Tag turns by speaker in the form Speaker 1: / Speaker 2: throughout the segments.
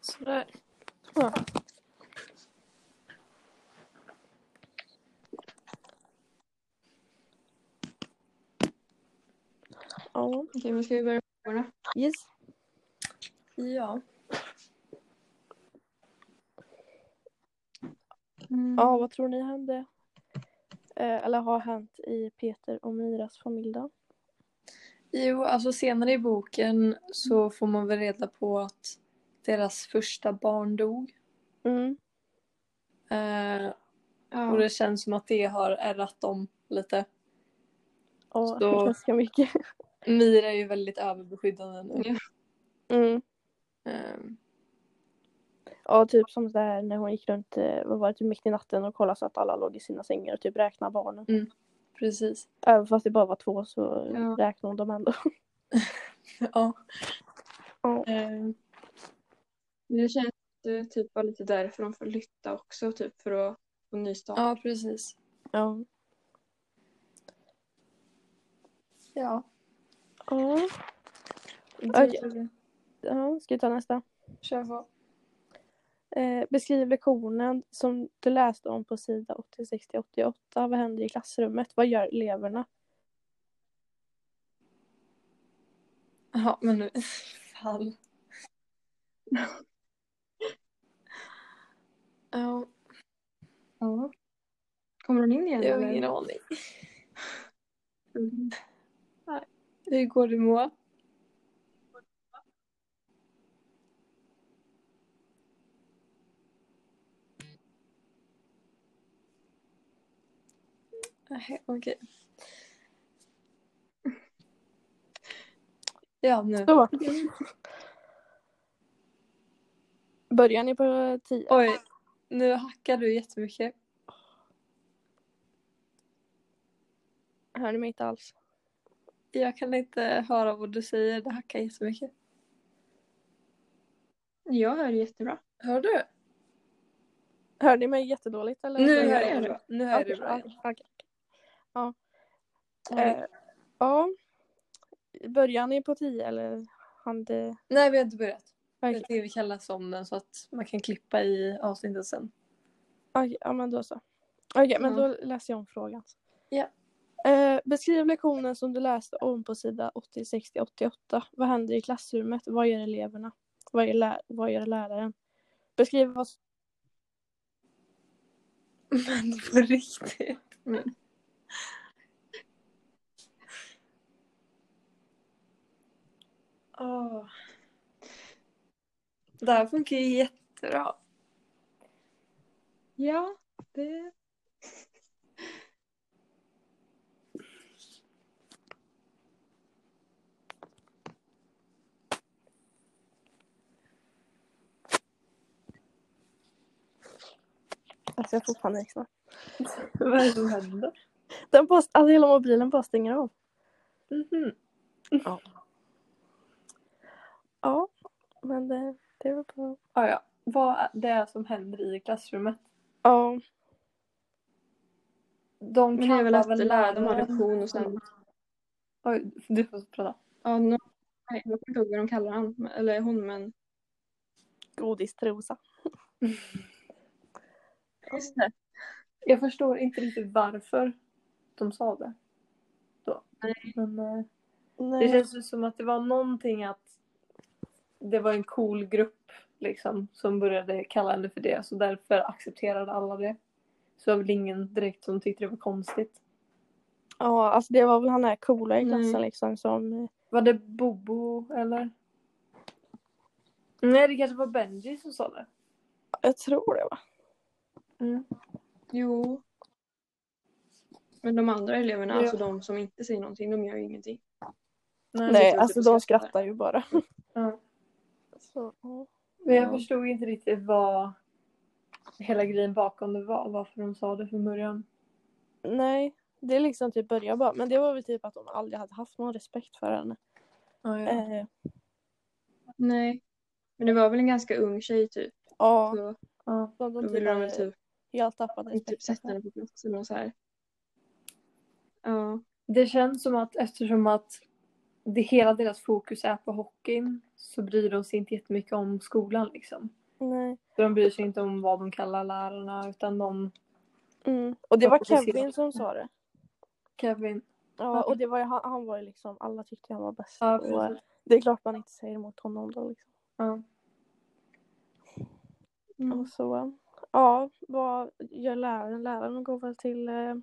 Speaker 1: Sådär.
Speaker 2: Ja. Ja.
Speaker 1: Okej, men ska vi börja med frågorna?
Speaker 2: Yes.
Speaker 1: Ja.
Speaker 3: Mm.
Speaker 2: Ja, vad tror ni hände? Eh, eller har hänt i Peter och Miras familj då?
Speaker 1: Jo, alltså senare i boken så får man väl reda på att deras första barn dog.
Speaker 2: Mm.
Speaker 1: Eh,
Speaker 3: Ja.
Speaker 1: och det känns som att det har ärrat dem lite.
Speaker 2: Ja,
Speaker 1: Så-
Speaker 2: ganska mycket.
Speaker 1: Mira är ju väldigt överbeskyddande nu.
Speaker 2: Mm.
Speaker 1: Eh,
Speaker 2: Ja, typ som det här när hon gick runt, eh, vad var det, typ mitt i natten och kollade så att alla låg i sina sängar och typ räknade barnen.
Speaker 1: precis.
Speaker 2: Även fast det bara var två så
Speaker 3: Ja.
Speaker 2: räknade hon dem ändå.
Speaker 1: Ja.
Speaker 2: Ja.
Speaker 1: Eh,
Speaker 3: Men Det känns att det typ var lite därför de får flytta också, typ för att få ny start.
Speaker 1: ja, precis.
Speaker 2: Ja.
Speaker 1: Ja.
Speaker 2: Ja. Okej. ja. Ska vi ta nästa?
Speaker 1: Kör på.
Speaker 2: Eh, beskriv lektionen som du läste om på sida 86-88. Vad händer i klassrummet? Vad gör eleverna?
Speaker 1: Ja, men nu... Fan. Ja,
Speaker 3: Ja. Kommer hon in igen
Speaker 1: jag har
Speaker 3: eller?
Speaker 1: ingen aning.
Speaker 3: Mm.
Speaker 1: Hur går det Moa? Nähä, Okej. Ja, nu.
Speaker 2: Så. Börjar ni på 10?
Speaker 1: Oj, nu hackar du jättemycket.
Speaker 2: Hör ni mig inte alls?
Speaker 1: Jag kan inte höra vad du säger, det hackar jättemycket.
Speaker 3: Jag hör jättebra.
Speaker 1: Hör du?
Speaker 2: Hör ni mig jättedåligt eller?
Speaker 1: Nu
Speaker 3: jag
Speaker 1: hör
Speaker 3: det
Speaker 1: jag
Speaker 3: bra.
Speaker 1: bra. Nu hör jag
Speaker 2: Okej,
Speaker 1: det bra.
Speaker 2: ja,
Speaker 1: igen.
Speaker 2: okej.
Speaker 1: Nej.
Speaker 2: Eh, ja. Börjar ni på 10 eller hann det?
Speaker 1: Nej, vi har inte börjat.
Speaker 2: Okej,
Speaker 1: Jag tycker vi kallas om den så att man kan klippa i avsnittet sen.
Speaker 2: okej, ja men då så. Okej, men
Speaker 3: Ja.
Speaker 2: då läser jag om frågan.
Speaker 1: Ja.
Speaker 2: Eh, beskriv lektionen som du läste om på sida 80-60-88. Vad händer i klassrummet? Vad gör eleverna? Vad gör, lä- vad gör läraren? Beskriv vad som...
Speaker 1: Men på riktigt.
Speaker 3: Mm.
Speaker 1: Åh. Det här funkar ju jättebra.
Speaker 3: Ja, det...
Speaker 2: Alltså jag får panik snart.
Speaker 1: Vad är det som händer?
Speaker 2: Den bara, alltså hela mobilen bara stänger av. Mhm. Ja, men det, det var bra.
Speaker 1: Ah, ja. Vad det är som händer i klassrummet.
Speaker 2: Ja,
Speaker 1: De
Speaker 3: Men det är väl
Speaker 1: kallar
Speaker 3: att lärarna de har
Speaker 1: läraren-
Speaker 3: lektion och sen...
Speaker 1: Oj, du får prata.
Speaker 3: Ja, no... Nej, jag kommer inte ihåg vad de kallar han, men- eller hon, men...
Speaker 2: godistrosa.
Speaker 3: Just det.
Speaker 1: Jag förstår inte riktigt varför de sa det. Då. Men, eh, det
Speaker 2: Nej.
Speaker 1: känns ju som att det var någonting att det var en cool grupp liksom, som började kalla henne för det. Så därför accepterade alla det. Så det var väl ingen direkt som tyckte det var konstigt.
Speaker 2: Ja, alltså det var väl han här coola i
Speaker 3: Nej.
Speaker 2: klassen liksom som...
Speaker 1: Var det Bobo eller? Nej, det kanske var Benji som sa det.
Speaker 2: Jag tror det va?
Speaker 3: Jo. Men de andra eleverna,
Speaker 1: Ja.
Speaker 3: alltså de som inte säger någonting, de gör ju ingenting.
Speaker 1: Nej,
Speaker 2: Nej,
Speaker 3: typ
Speaker 2: alltså
Speaker 3: och
Speaker 2: de
Speaker 3: skrattar.
Speaker 2: skrattar ju bara.
Speaker 1: Ja.
Speaker 2: Så, ja.
Speaker 1: Men jag
Speaker 3: Ja.
Speaker 1: förstod inte riktigt vad hela grejen bakom det var. Varför de sa det från början.
Speaker 2: Nej, det är liksom typ börja bara. Men det var väl typ att de aldrig hade haft någon respekt för henne.
Speaker 1: Ja, ja.
Speaker 2: Eh,
Speaker 3: Nej. Men det var väl en ganska ung tjej typ.
Speaker 2: ja,
Speaker 3: Så
Speaker 1: ja.
Speaker 2: de, de
Speaker 3: då
Speaker 2: typ
Speaker 3: ville de
Speaker 2: hade
Speaker 3: väl typ,
Speaker 2: helt tappat
Speaker 3: typ
Speaker 1: alltså.
Speaker 2: respekten
Speaker 3: sätta
Speaker 2: för henne.
Speaker 3: henne på plats eller något så här. Ja.
Speaker 1: Det känns som att eftersom att det, hela deras fokus är på hockeyn så bryr de sig inte jättemycket om skolan liksom.
Speaker 2: Nej.
Speaker 1: De bryr sig inte om vad de kallar lärarna utan de...
Speaker 2: Mm. Och det
Speaker 1: Ja,
Speaker 2: var
Speaker 1: precis.
Speaker 2: Kevin som sa det.
Speaker 1: Kevin.
Speaker 2: Ja, och det var ju, han, han var ju liksom, alla tyckte han var bäst.
Speaker 1: Ja,
Speaker 2: och eh, det är klart man inte säger emot honom då liksom.
Speaker 1: Ja.
Speaker 2: Mm. Och så, eh, ja, vad gör läraren? Läraren går väl till, eh,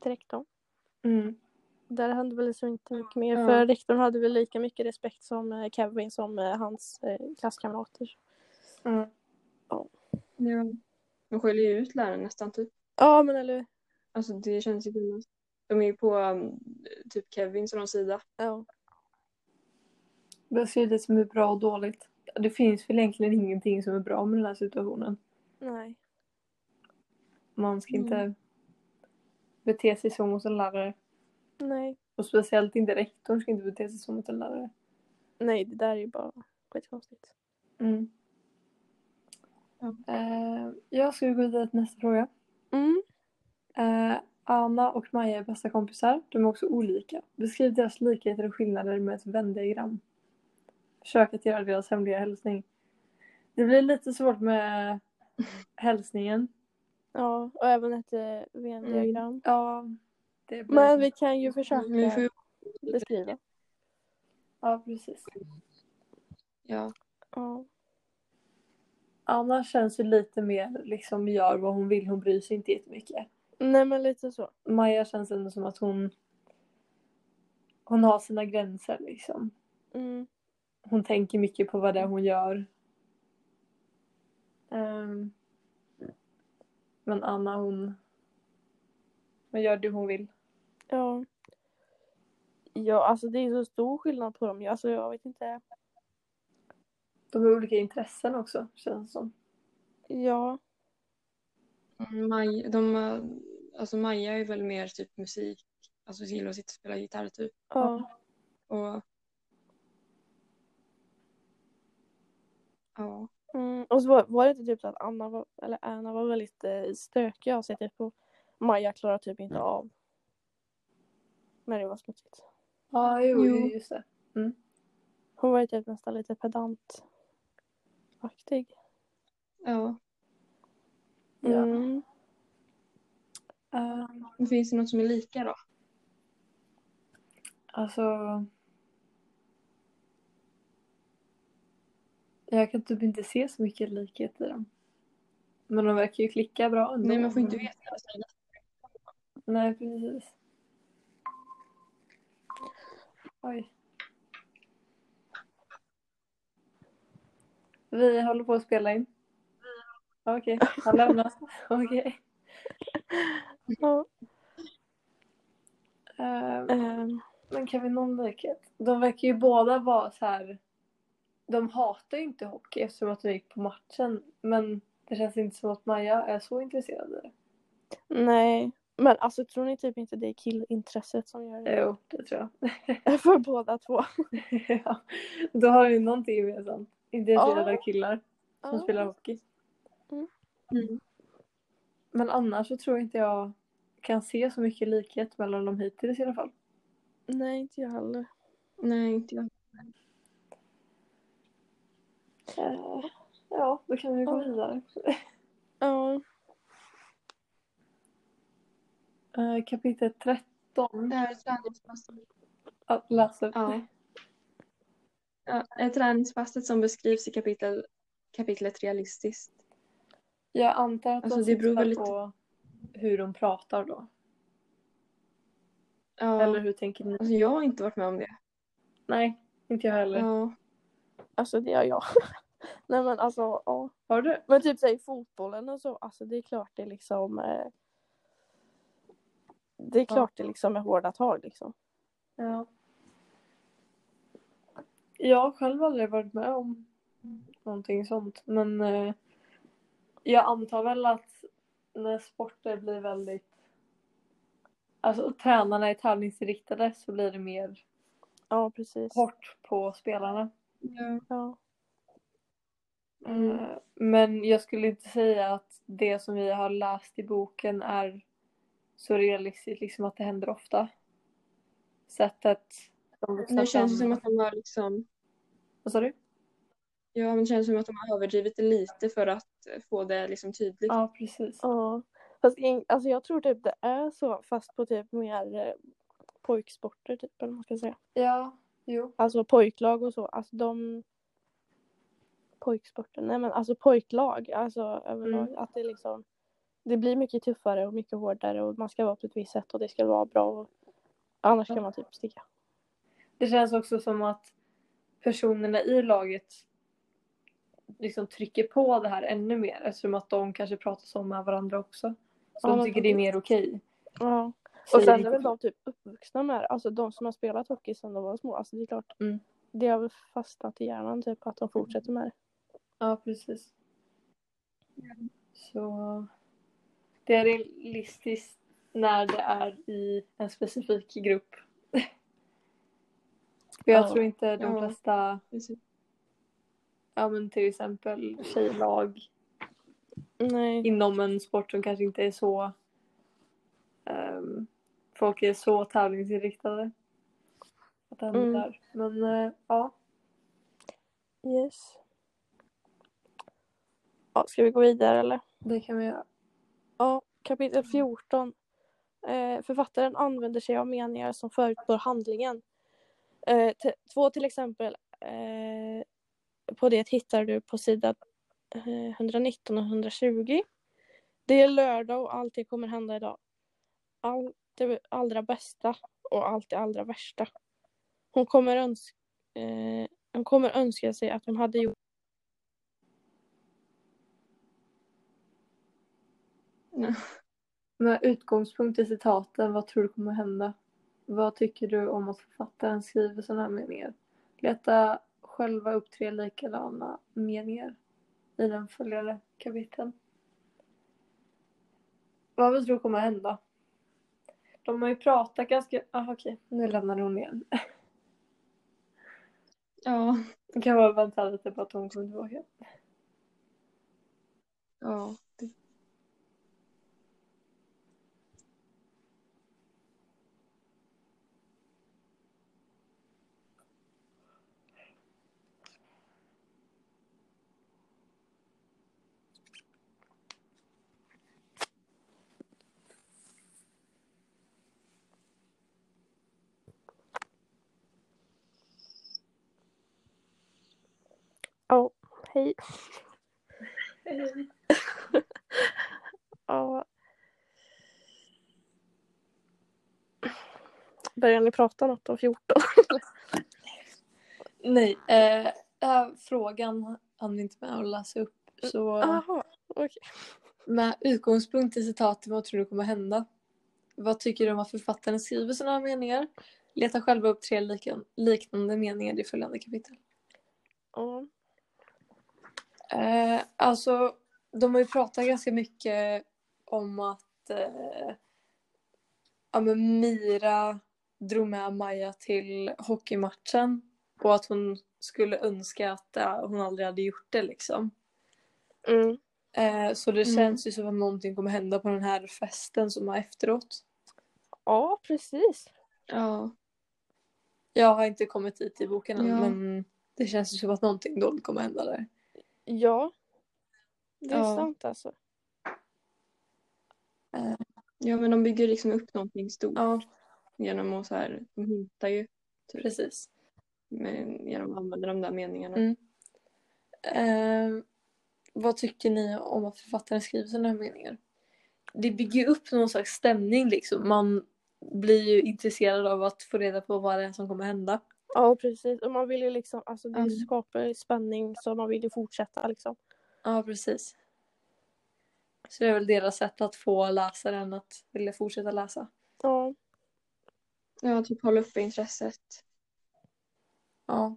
Speaker 2: till rektorn.
Speaker 1: Mm.
Speaker 2: Där hände väl liksom inte mycket mer.
Speaker 1: Ja.
Speaker 2: För rektorn hade väl lika mycket respekt som eh, Kevin som eh, hans eh, klasskamrater.
Speaker 1: Mm.
Speaker 3: Ja. De skäller ju ut läraren nästan typ.
Speaker 2: Ja, men eller
Speaker 3: Alltså det känns ju kul. De är ju på um, typ Kevins och någon sida.
Speaker 2: Ja.
Speaker 1: Det ser det som är bra och dåligt. Det finns väl egentligen ingenting som är bra med den här situationen.
Speaker 2: Nej.
Speaker 1: Man ska
Speaker 3: Mm.
Speaker 1: inte bete sig så mot en lärare.
Speaker 2: Nej.
Speaker 1: Och speciellt inte rektorn ska inte bete sig så mot en lärare.
Speaker 2: Nej, det där är ju bara skitkonstigt.
Speaker 1: Mm.
Speaker 3: Ja.
Speaker 1: Eh, jag ska gå vidare till nästa fråga.
Speaker 2: Mm.
Speaker 1: Eh, Anna och Maja är bästa kompisar. De är också olika. Beskriv deras likheter och skillnader med ett vändiagram. Försök att göra deras hemliga hälsning. Det blir lite svårt med hälsningen.
Speaker 2: Ja, och även ett eh, Venn-diagram.
Speaker 1: Ja, det blir...
Speaker 2: Men vi kan ju försöka
Speaker 3: Mm, Vi får ju-
Speaker 2: beskriva.
Speaker 1: Ja, precis.
Speaker 3: Ja.
Speaker 2: Ja.
Speaker 1: Anna känns ju lite mer liksom gör vad hon vill. Hon bryr sig inte jättemycket.
Speaker 2: Nej, men lite så.
Speaker 1: Maja känns ändå som att hon... Hon har sina gränser liksom.
Speaker 2: Mm.
Speaker 1: Hon tänker mycket på vad det är hon gör. Ehm, men Anna hon... Hon gör det hon vill.
Speaker 2: Ja. Ja, alltså det är så stor skillnad på dem. Alltså jag vet inte.
Speaker 1: De har olika intressen också känns det som.
Speaker 2: Ja.
Speaker 3: Maj, de, uh, alltså Maja är väl mer typ musik. Alltså gillar att sitta och spela gitarr typ.
Speaker 2: Ja.
Speaker 3: Och... Ja.
Speaker 2: Mm. Och så var, var det inte typ så att Anna var, eller Anna var väldigt eh, stökig av sig typ. Och Maja klarar typ inte av. Men det var smutsigt.
Speaker 1: Ja, jo,
Speaker 3: Jo.
Speaker 1: just det.
Speaker 2: Hon var ju typ nästan lite pedantaktig.
Speaker 3: ja.
Speaker 1: Ja.
Speaker 2: Mm.
Speaker 1: Ehm,
Speaker 3: Men Finns det något som är lika då?
Speaker 1: alltså... Jag kan typ inte se så mycket likhet i dem. Men de verkar ju klicka bra ändå.
Speaker 3: Nej, man får inte veta. Alltså,
Speaker 1: Nej, precis. Oj. Vi håller på att spela in. Okej, han lämnar. Okej.
Speaker 2: Ja.
Speaker 1: Eh,
Speaker 2: Ehm,
Speaker 1: men kan vi någon likhet? De verkar ju båda vara så här. De hatar ju inte hockey eftersom att de gick på matchen. Men det känns inte som att Maja är så intresserad av det.
Speaker 2: nej. Men alltså tror ni typ inte det är killintresset som gör det?
Speaker 1: Jo, det tror jag.
Speaker 2: För båda två.
Speaker 1: ja. Då har vi någonting gemensamt. Intresserade
Speaker 2: Ja.
Speaker 1: av killar som
Speaker 2: Ja.
Speaker 1: spelar hockey.
Speaker 2: Mm.
Speaker 3: Mm.
Speaker 1: Men annars så tror jag inte jag kan se så mycket likhet mellan dem hittills i alla fall.
Speaker 2: Nej, inte jag heller.
Speaker 3: Nej, inte jag.
Speaker 1: Eh, Ja, då kan vi gå
Speaker 2: Ja.
Speaker 1: vidare.
Speaker 2: Ja.
Speaker 1: Eh, Kapitel 13.
Speaker 3: Det här är träningspasset.
Speaker 1: Ja, Läs upp.
Speaker 3: Ja. ja. Är träningspasset som beskrivs i kapitel, kapitlet realistiskt?
Speaker 1: Jag antar att
Speaker 3: Alltså,
Speaker 1: de
Speaker 3: det beror
Speaker 1: siktar
Speaker 3: väl lite-
Speaker 1: på hur de pratar då.
Speaker 3: Ja.
Speaker 1: Eller hur tänker ni?
Speaker 3: Alltså, jag har inte varit med om det.
Speaker 1: Nej, inte jag heller.
Speaker 3: Ja.
Speaker 2: Alltså det gör jag. Nej men alltså ja.
Speaker 1: Har du?
Speaker 2: Men typ säg fotbollen och så. Alltså det är klart det är liksom. Eh, det är
Speaker 1: Ja.
Speaker 2: klart det liksom är hårda tag liksom.
Speaker 1: Ja. Jag har själv aldrig varit med om någonting sånt. Men eh, jag antar väl att när sporter blir väldigt... Alltså tränarna är tävlingsinriktade så blir det mer
Speaker 2: Ja precis.
Speaker 1: hårt på spelarna.
Speaker 3: ja.
Speaker 2: Ja.
Speaker 3: Mm.
Speaker 1: Eh, Men jag skulle inte säga att det som vi har läst i boken är så realistiskt liksom att det händer ofta. Sättet de vuxna
Speaker 3: Det känns
Speaker 1: fram-
Speaker 3: som att de har liksom...
Speaker 1: Vad sa du?
Speaker 3: Ja, men det känns som att de har överdrivit det lite för att eh, få det liksom tydligt.
Speaker 1: Ja, precis.
Speaker 2: Ja. Fast in, alltså jag tror typ det är så fast på typ mer eh, pojksporter typ eller vad man ska säga.
Speaker 1: Ja, jo.
Speaker 2: Alltså pojklag och så. Alltså de pojksporter. Nej men alltså pojklag. Alltså överlag.
Speaker 1: Mm.
Speaker 2: Att det liksom. Det blir mycket tuffare och mycket hårdare och man ska vara på ett visst sätt och det ska vara bra. Och, annars
Speaker 1: Ja.
Speaker 2: kan man typ sticka.
Speaker 1: Det känns också som att personerna i laget liksom trycker på det här ännu mer eftersom att de kanske pratar så med varandra också. Så
Speaker 2: Ja,
Speaker 1: de
Speaker 2: men
Speaker 1: tycker det är mer okej.
Speaker 2: Ja. Och
Speaker 1: Säger
Speaker 2: sen
Speaker 1: inte-
Speaker 2: är väl de typ uppvuxna med det. Alltså de som har spelat hockey sedan de var små. Alltså det är klart.
Speaker 1: Mm.
Speaker 2: Det har väl fastnat i hjärnan typ att de fortsätter med det.
Speaker 1: Ja, precis. Så det är realistiskt när det är i en specifik grupp. För jag
Speaker 2: Ja.
Speaker 1: tror inte de
Speaker 3: Ja.
Speaker 1: flesta,
Speaker 3: Precis.
Speaker 1: ja men till exempel tjejlag
Speaker 2: Nej.
Speaker 1: inom en sport som kanske inte är så ehm, folk är så tävlingsinriktade. Att det händer
Speaker 2: Mm.
Speaker 1: där. Men eh, ja,
Speaker 2: Yes. Ja, ska vi gå vidare eller?
Speaker 1: det kan vi göra.
Speaker 2: Ja, kapitel 14. Eh, författaren använder sig av meningar som förutspår handlingen. Eh, t- två till exempel eh, på det hittar du på sida eh, 119 och 120. Det är lördag och allt det kommer hända idag. Allt det allra bästa och allt det allra värsta. Hon kommer, öns- eh, hon kommer önska sig att hon hade gjort
Speaker 1: Med utgångspunkt i citaten, vad tror du kommer hända? Vad tycker du om att författaren skriver sådana här meningar? Leta själva upp tre likadana meningar i den följande kapiteln. Vad vi tror kommer hända? De har ju pratat ganska... Ah, okej, nu lämnar hon igen.
Speaker 3: Ja.
Speaker 1: Vi kan bara vänta lite på typ att hon kommer tillbaka.
Speaker 3: ja. det-
Speaker 2: Ja, hej. Ja. Börjar ni prata något om 14?
Speaker 1: Nej, eh, eh, frågan hann vi inte med att läsa upp. Så...
Speaker 2: Jaha, okej.
Speaker 1: Med utgångspunkt i citatet vad tror du kommer hända? Vad tycker du om att författaren skriver sådana här meningar? Leta själva upp tre likan- liknande meningar i följande kapitel.
Speaker 2: Ja.
Speaker 1: Eh, alltså, de har ju pratat ganska mycket om att eh, ja, men Mira drog med Maja till hockeymatchen och att hon skulle önska att eh, hon aldrig hade gjort det liksom.
Speaker 2: Mm.
Speaker 1: Eh, så det
Speaker 3: Mm.
Speaker 1: känns ju som att någonting kommer hända på den här festen som är efteråt.
Speaker 2: ja, precis.
Speaker 3: Ja.
Speaker 1: Jag har inte kommit dit i boken än
Speaker 3: Ja.
Speaker 1: men det känns ju som att någonting dåligt kommer hända där.
Speaker 2: Ja. Det är
Speaker 3: Ja.
Speaker 2: sant alltså.
Speaker 3: ja, men de bygger liksom upp någonting stort
Speaker 1: Ja,
Speaker 3: genom att så här, de hintar ju Typ.
Speaker 1: precis.
Speaker 3: med, genom att använda de där meningarna.
Speaker 1: Mm. Eh, vad tycker ni om att författaren skriver sådana här meningar? Det bygger ju upp någon slags stämning liksom. Man blir ju intresserad av att få reda på vad det är som kommer hända.
Speaker 2: Ja, precis. Och man vill ju liksom, alltså det
Speaker 3: Mm.
Speaker 2: skapar ju spänning så man vill ju fortsätta liksom.
Speaker 1: Ja, precis. Så det är väl deras sätt att få läsaren att vilja fortsätta läsa.
Speaker 2: Ja.
Speaker 3: Ja, typ hålla uppe intresset.
Speaker 1: Ja,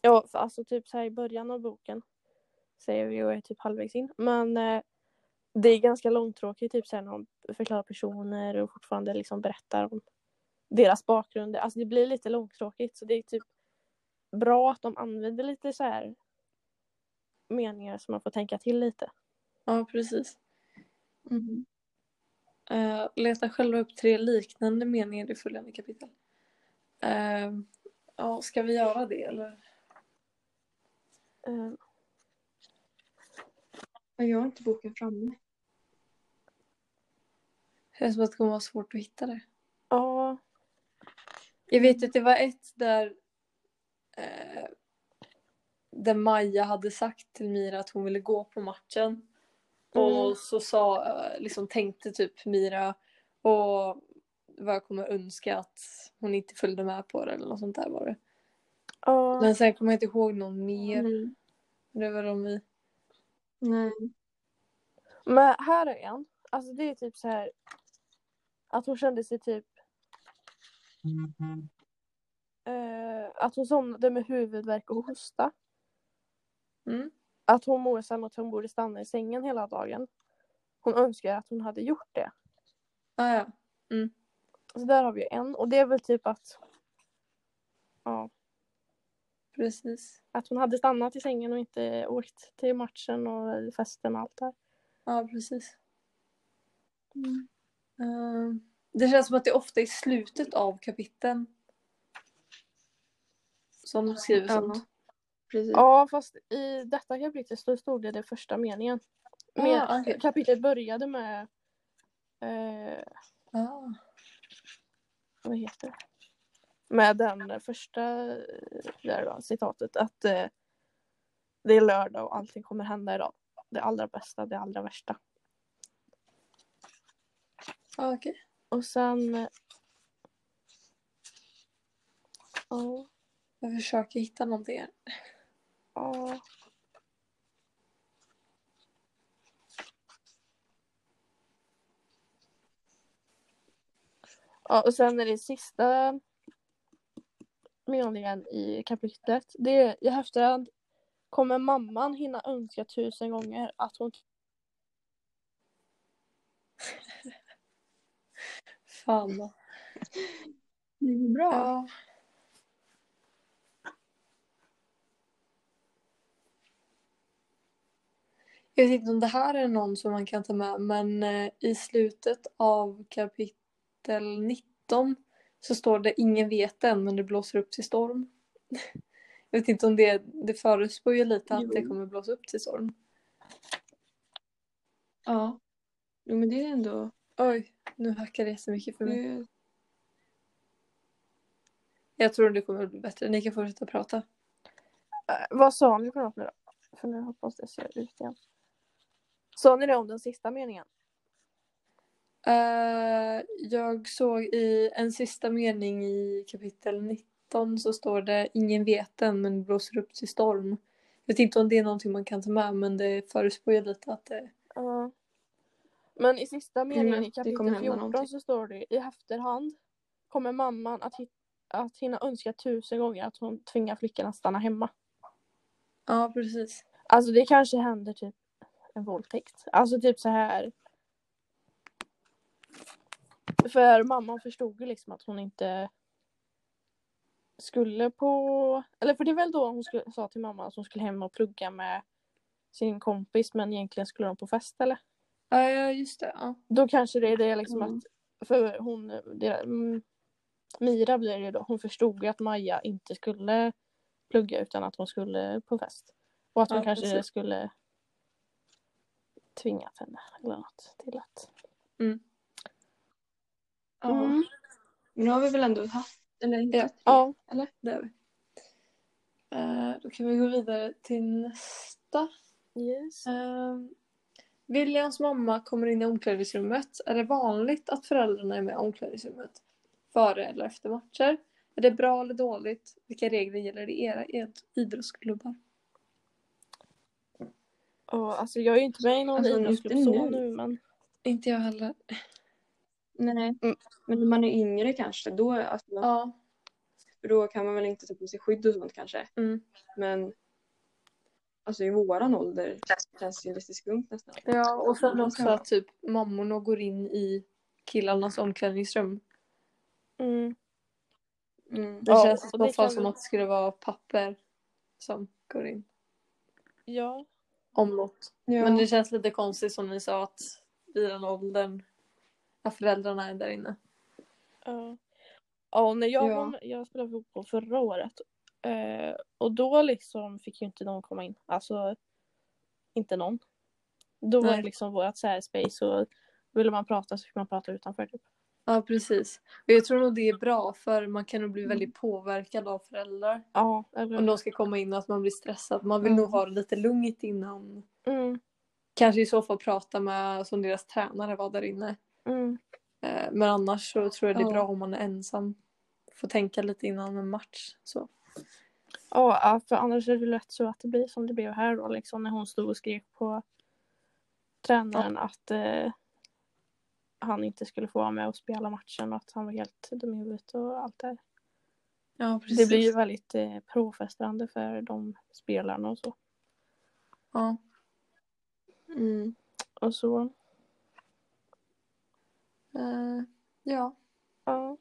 Speaker 2: Ja, för alltså typ så här i början av boken säger vi och är typ halvvägs in. Men eh, det är ganska långtråkigt typ sen när de förklarar personer och fortfarande liksom berättar om deras bakgrund. Alltså det blir lite långtråkigt så det är typ bra att de använder lite så här meningar som man får tänka till lite.
Speaker 1: ja precis.
Speaker 3: Mm.
Speaker 1: Eh, leta själva upp tre liknande meningar i följande kapitel. Ehm, Eh, ja, ska vi göra det eller?
Speaker 2: Eh,
Speaker 3: Men jag har inte boken framme.
Speaker 1: känns som att det kommer vara svårt att hitta det.
Speaker 2: Ja.
Speaker 1: Jag vet att det var ett där eh, där Maja hade sagt till Mira att hon ville gå på matchen.
Speaker 2: Mm.
Speaker 1: Och så sa, eh, liksom tänkte typ Mira och vad jag kommer önska att hon inte följde med på det eller något sånt där var det.
Speaker 2: Ja.
Speaker 1: Men sen kommer jag inte ihåg någon mer.
Speaker 3: Nej.
Speaker 1: Det var de vi...
Speaker 3: Nej.
Speaker 2: Men här är en. Alltså det är typ så här. Att hon kände sig typ. Eh, att hon somnade med huvudvärk och hosta.
Speaker 1: Mm.
Speaker 2: Att hon mår som att hon borde stanna i sängen hela dagen. Hon önskar att hon hade gjort det.
Speaker 1: Ah, ja.
Speaker 2: Så där har vi en. Och det är väl typ att. Ja.
Speaker 1: Precis.
Speaker 2: Att hon hade stannat i sängen och inte åkt till matchen och festen och allt där.
Speaker 1: Ja, precis.
Speaker 3: Mm.
Speaker 1: Eh, det känns som att det ofta är i slutet av kapiteln som de skriver
Speaker 3: Ja.
Speaker 1: sånt.
Speaker 3: Precis.
Speaker 2: Ja, fast i detta kapitlet så stod det, det första meningen. Men,
Speaker 1: Ah, okej.
Speaker 2: Kapitlet började med... Eh,
Speaker 1: Ah.
Speaker 2: vad heter det? Med den första eh, där då, citatet att eh, det är lördag och allting kommer hända idag. Det allra bästa, det allra värsta.
Speaker 1: Ah, okej.
Speaker 2: Och sen... eh, Ja,
Speaker 1: Jag försöker hitta någonting här.
Speaker 2: ja. Ja, och sen är det sista meningen i kapitlet. Det är i efterhand kommer mamman hinna önska tusen gånger att hon...
Speaker 1: Fan då.
Speaker 3: Det är bra.
Speaker 1: Ja. Jag vet inte om det här är någon som man kan ta med men eh, i slutet av kapitel 19 så står det ingen vet än men det blåser upp till storm. Jag vet inte om det, det förutspår ju lite att det
Speaker 3: Jo.
Speaker 1: kommer blåsa upp till storm.
Speaker 3: Ja. Jo men det är ändå...
Speaker 1: Oj, nu hackar det jättemycket för mig.
Speaker 3: Det,
Speaker 1: Jag tror det kommer bli bättre. Ni kan fortsätta prata.
Speaker 2: Eh, vad sa ni för något nu då? För nu hoppas jag ser ut igen. Sa ni det om den sista meningen?
Speaker 1: Eh, jag såg i en sista mening i kapitel 19 så står det Ingen vet än men det blåser upp till storm. Jag vet inte om det är någonting man kan ta med men det förutspår ju lite att det...
Speaker 2: Ja. Men i sista meningen
Speaker 3: Mm,
Speaker 2: i
Speaker 3: det kommer
Speaker 2: kapitel
Speaker 3: hända
Speaker 2: 14
Speaker 3: någonting.
Speaker 2: så står det i efterhand kommer mamman att, hit- att hinna önska tusen gånger att hon tvingar flickan att stanna hemma.
Speaker 1: Ja, precis.
Speaker 2: Alltså det kanske händer typ en våldtäkt. Alltså typ så här. För mamman förstod ju liksom att hon inte skulle på... Eller för det är väl då hon skulle, sa till mamma att hon skulle hem och plugga med sin kompis men egentligen skulle de på fest eller?
Speaker 1: Ja, ja just det. Ja.
Speaker 2: Då kanske det är det liksom
Speaker 3: Mm.
Speaker 2: att för hon, det, mm, Mira blir det då, hon förstod ju att Maja inte skulle plugga utan att hon skulle på fest. Och att hon
Speaker 1: Ja,
Speaker 2: kanske
Speaker 1: precis.
Speaker 2: skulle tvingat henne eller något till att...
Speaker 3: ja. Men nu har vi väl ändå haft... Eller inte?
Speaker 1: Ja.
Speaker 2: Mm. Ja.
Speaker 1: Det är vi. Eh, då kan vi gå vidare till nästa.
Speaker 2: Yes.
Speaker 1: Eh, Williams mamma kommer in i omklädningsrummet. Är det vanligt att föräldrarna är med i omklädningsrummet? Före eller efter matcher? Är det bra eller dåligt? Vilka regler gäller i era ed- idrottsklubbar?
Speaker 2: Och, alltså jag är ju inte med i någon
Speaker 3: Alltså, inte
Speaker 2: idrottsgrupp så
Speaker 3: nu.
Speaker 2: nu men...
Speaker 1: Inte jag heller.
Speaker 3: Nej.
Speaker 2: Mm.
Speaker 3: Men när man är yngre kanske, då, alltså,
Speaker 1: Ja.
Speaker 3: för då kan man väl inte ta på sig skydd och sånt kanske.
Speaker 1: Mm.
Speaker 3: Men alltså i våran ålder känns det ju lite skumt nästan.
Speaker 1: ja och sen
Speaker 3: Ja.
Speaker 1: också att typ mammorna går in i killarnas omklädningsrum.
Speaker 2: Mm.
Speaker 3: Mm.
Speaker 1: Det
Speaker 2: Ja,
Speaker 1: känns i
Speaker 2: och
Speaker 1: så
Speaker 2: det
Speaker 1: fall
Speaker 2: kan-
Speaker 1: som att det skulle vara papper som går in.
Speaker 2: Ja.
Speaker 1: Om något.
Speaker 3: Ja.
Speaker 1: Men det känns lite konstigt som ni sa att i den åldern att föräldrarna är där inne.
Speaker 2: Ja. Ja, när jag,
Speaker 3: Ja.
Speaker 2: var, jag spelade fotboll förra året. Eh, och då liksom fick ju inte någon komma in. Alltså, inte någon. Då var
Speaker 1: Nej.
Speaker 2: det liksom vårt så här space och ville man prata så fick man prata utanför. Typ.
Speaker 1: Ja, precis. Och jag tror nog det är bra för man kan nog bli väldigt påverkad av föräldrar.
Speaker 2: Ja, eller...
Speaker 1: Om de ska komma in och att man blir stressad. Man vill
Speaker 2: Mm.
Speaker 1: nog ha det lite lugnt innan.
Speaker 2: mm,
Speaker 1: Kanske i så fall prata med som deras tränare var där inne.
Speaker 2: mm,
Speaker 1: Eh, Men annars så tror jag det är
Speaker 3: Ja.
Speaker 1: bra om man är ensam. Får tänka lite innan en match. Så.
Speaker 2: Ja, ja, för annars är det lätt så att det blir som det blev här då liksom när hon stod och skrek på tränaren att eh, han inte skulle få vara med och spela matchen och att han var helt dum i huvudet och allt det här.
Speaker 1: Ja,
Speaker 2: Det blir ju väldigt eh, påfrestande för de spelarna och så.
Speaker 1: Ja.
Speaker 3: Mm.
Speaker 2: Och så,
Speaker 1: Eh, ja,
Speaker 2: ja.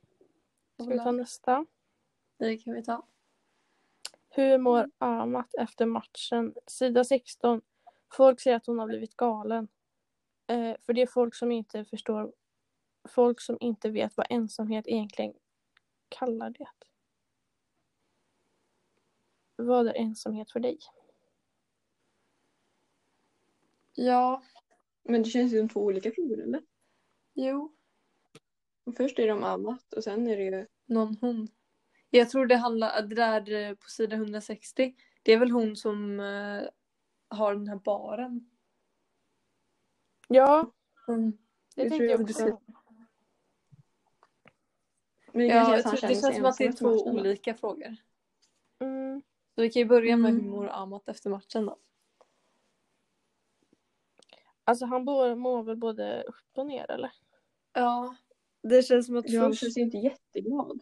Speaker 2: Ska vi ta
Speaker 1: Ola,
Speaker 2: nästa?
Speaker 1: det kan vi ta.
Speaker 2: Hur mår Amat efter matchen? Sida 16. Folk säger att hon har blivit galen. Eh, för det är folk som inte förstår. Folk som inte vet vad ensamhet egentligen kallar det. Vad är ensamhet för dig?
Speaker 1: Ja,
Speaker 3: Men det känns ju som två olika frågor eller?
Speaker 1: jo.
Speaker 3: Först är det om annat och sen är det ju...
Speaker 1: Någon hon. Jag tror det handlar, det där eh, på sida 160. Det är väl hon som eh, har den här baren.
Speaker 2: Ja,
Speaker 1: Mm.
Speaker 2: det
Speaker 1: Det
Speaker 2: tänkte
Speaker 1: tror
Speaker 2: jag
Speaker 1: jag
Speaker 2: också.
Speaker 3: Men det
Speaker 1: Ja,
Speaker 3: kanske är
Speaker 1: jag
Speaker 3: att han
Speaker 1: tror,
Speaker 3: känner
Speaker 1: det
Speaker 3: sig
Speaker 1: känns som att det är
Speaker 3: ensam efter
Speaker 1: två
Speaker 3: matchen.
Speaker 1: olika frågor.
Speaker 2: Mm,
Speaker 1: Så vi kan ju börja med
Speaker 3: Mm.
Speaker 1: hur mår Amat efter matchen då.
Speaker 2: alltså han bor- mår väl både upp och ner eller?
Speaker 1: Ja. Det känns som att
Speaker 3: Ja, han
Speaker 1: först,
Speaker 3: känns ju inte jätteglad.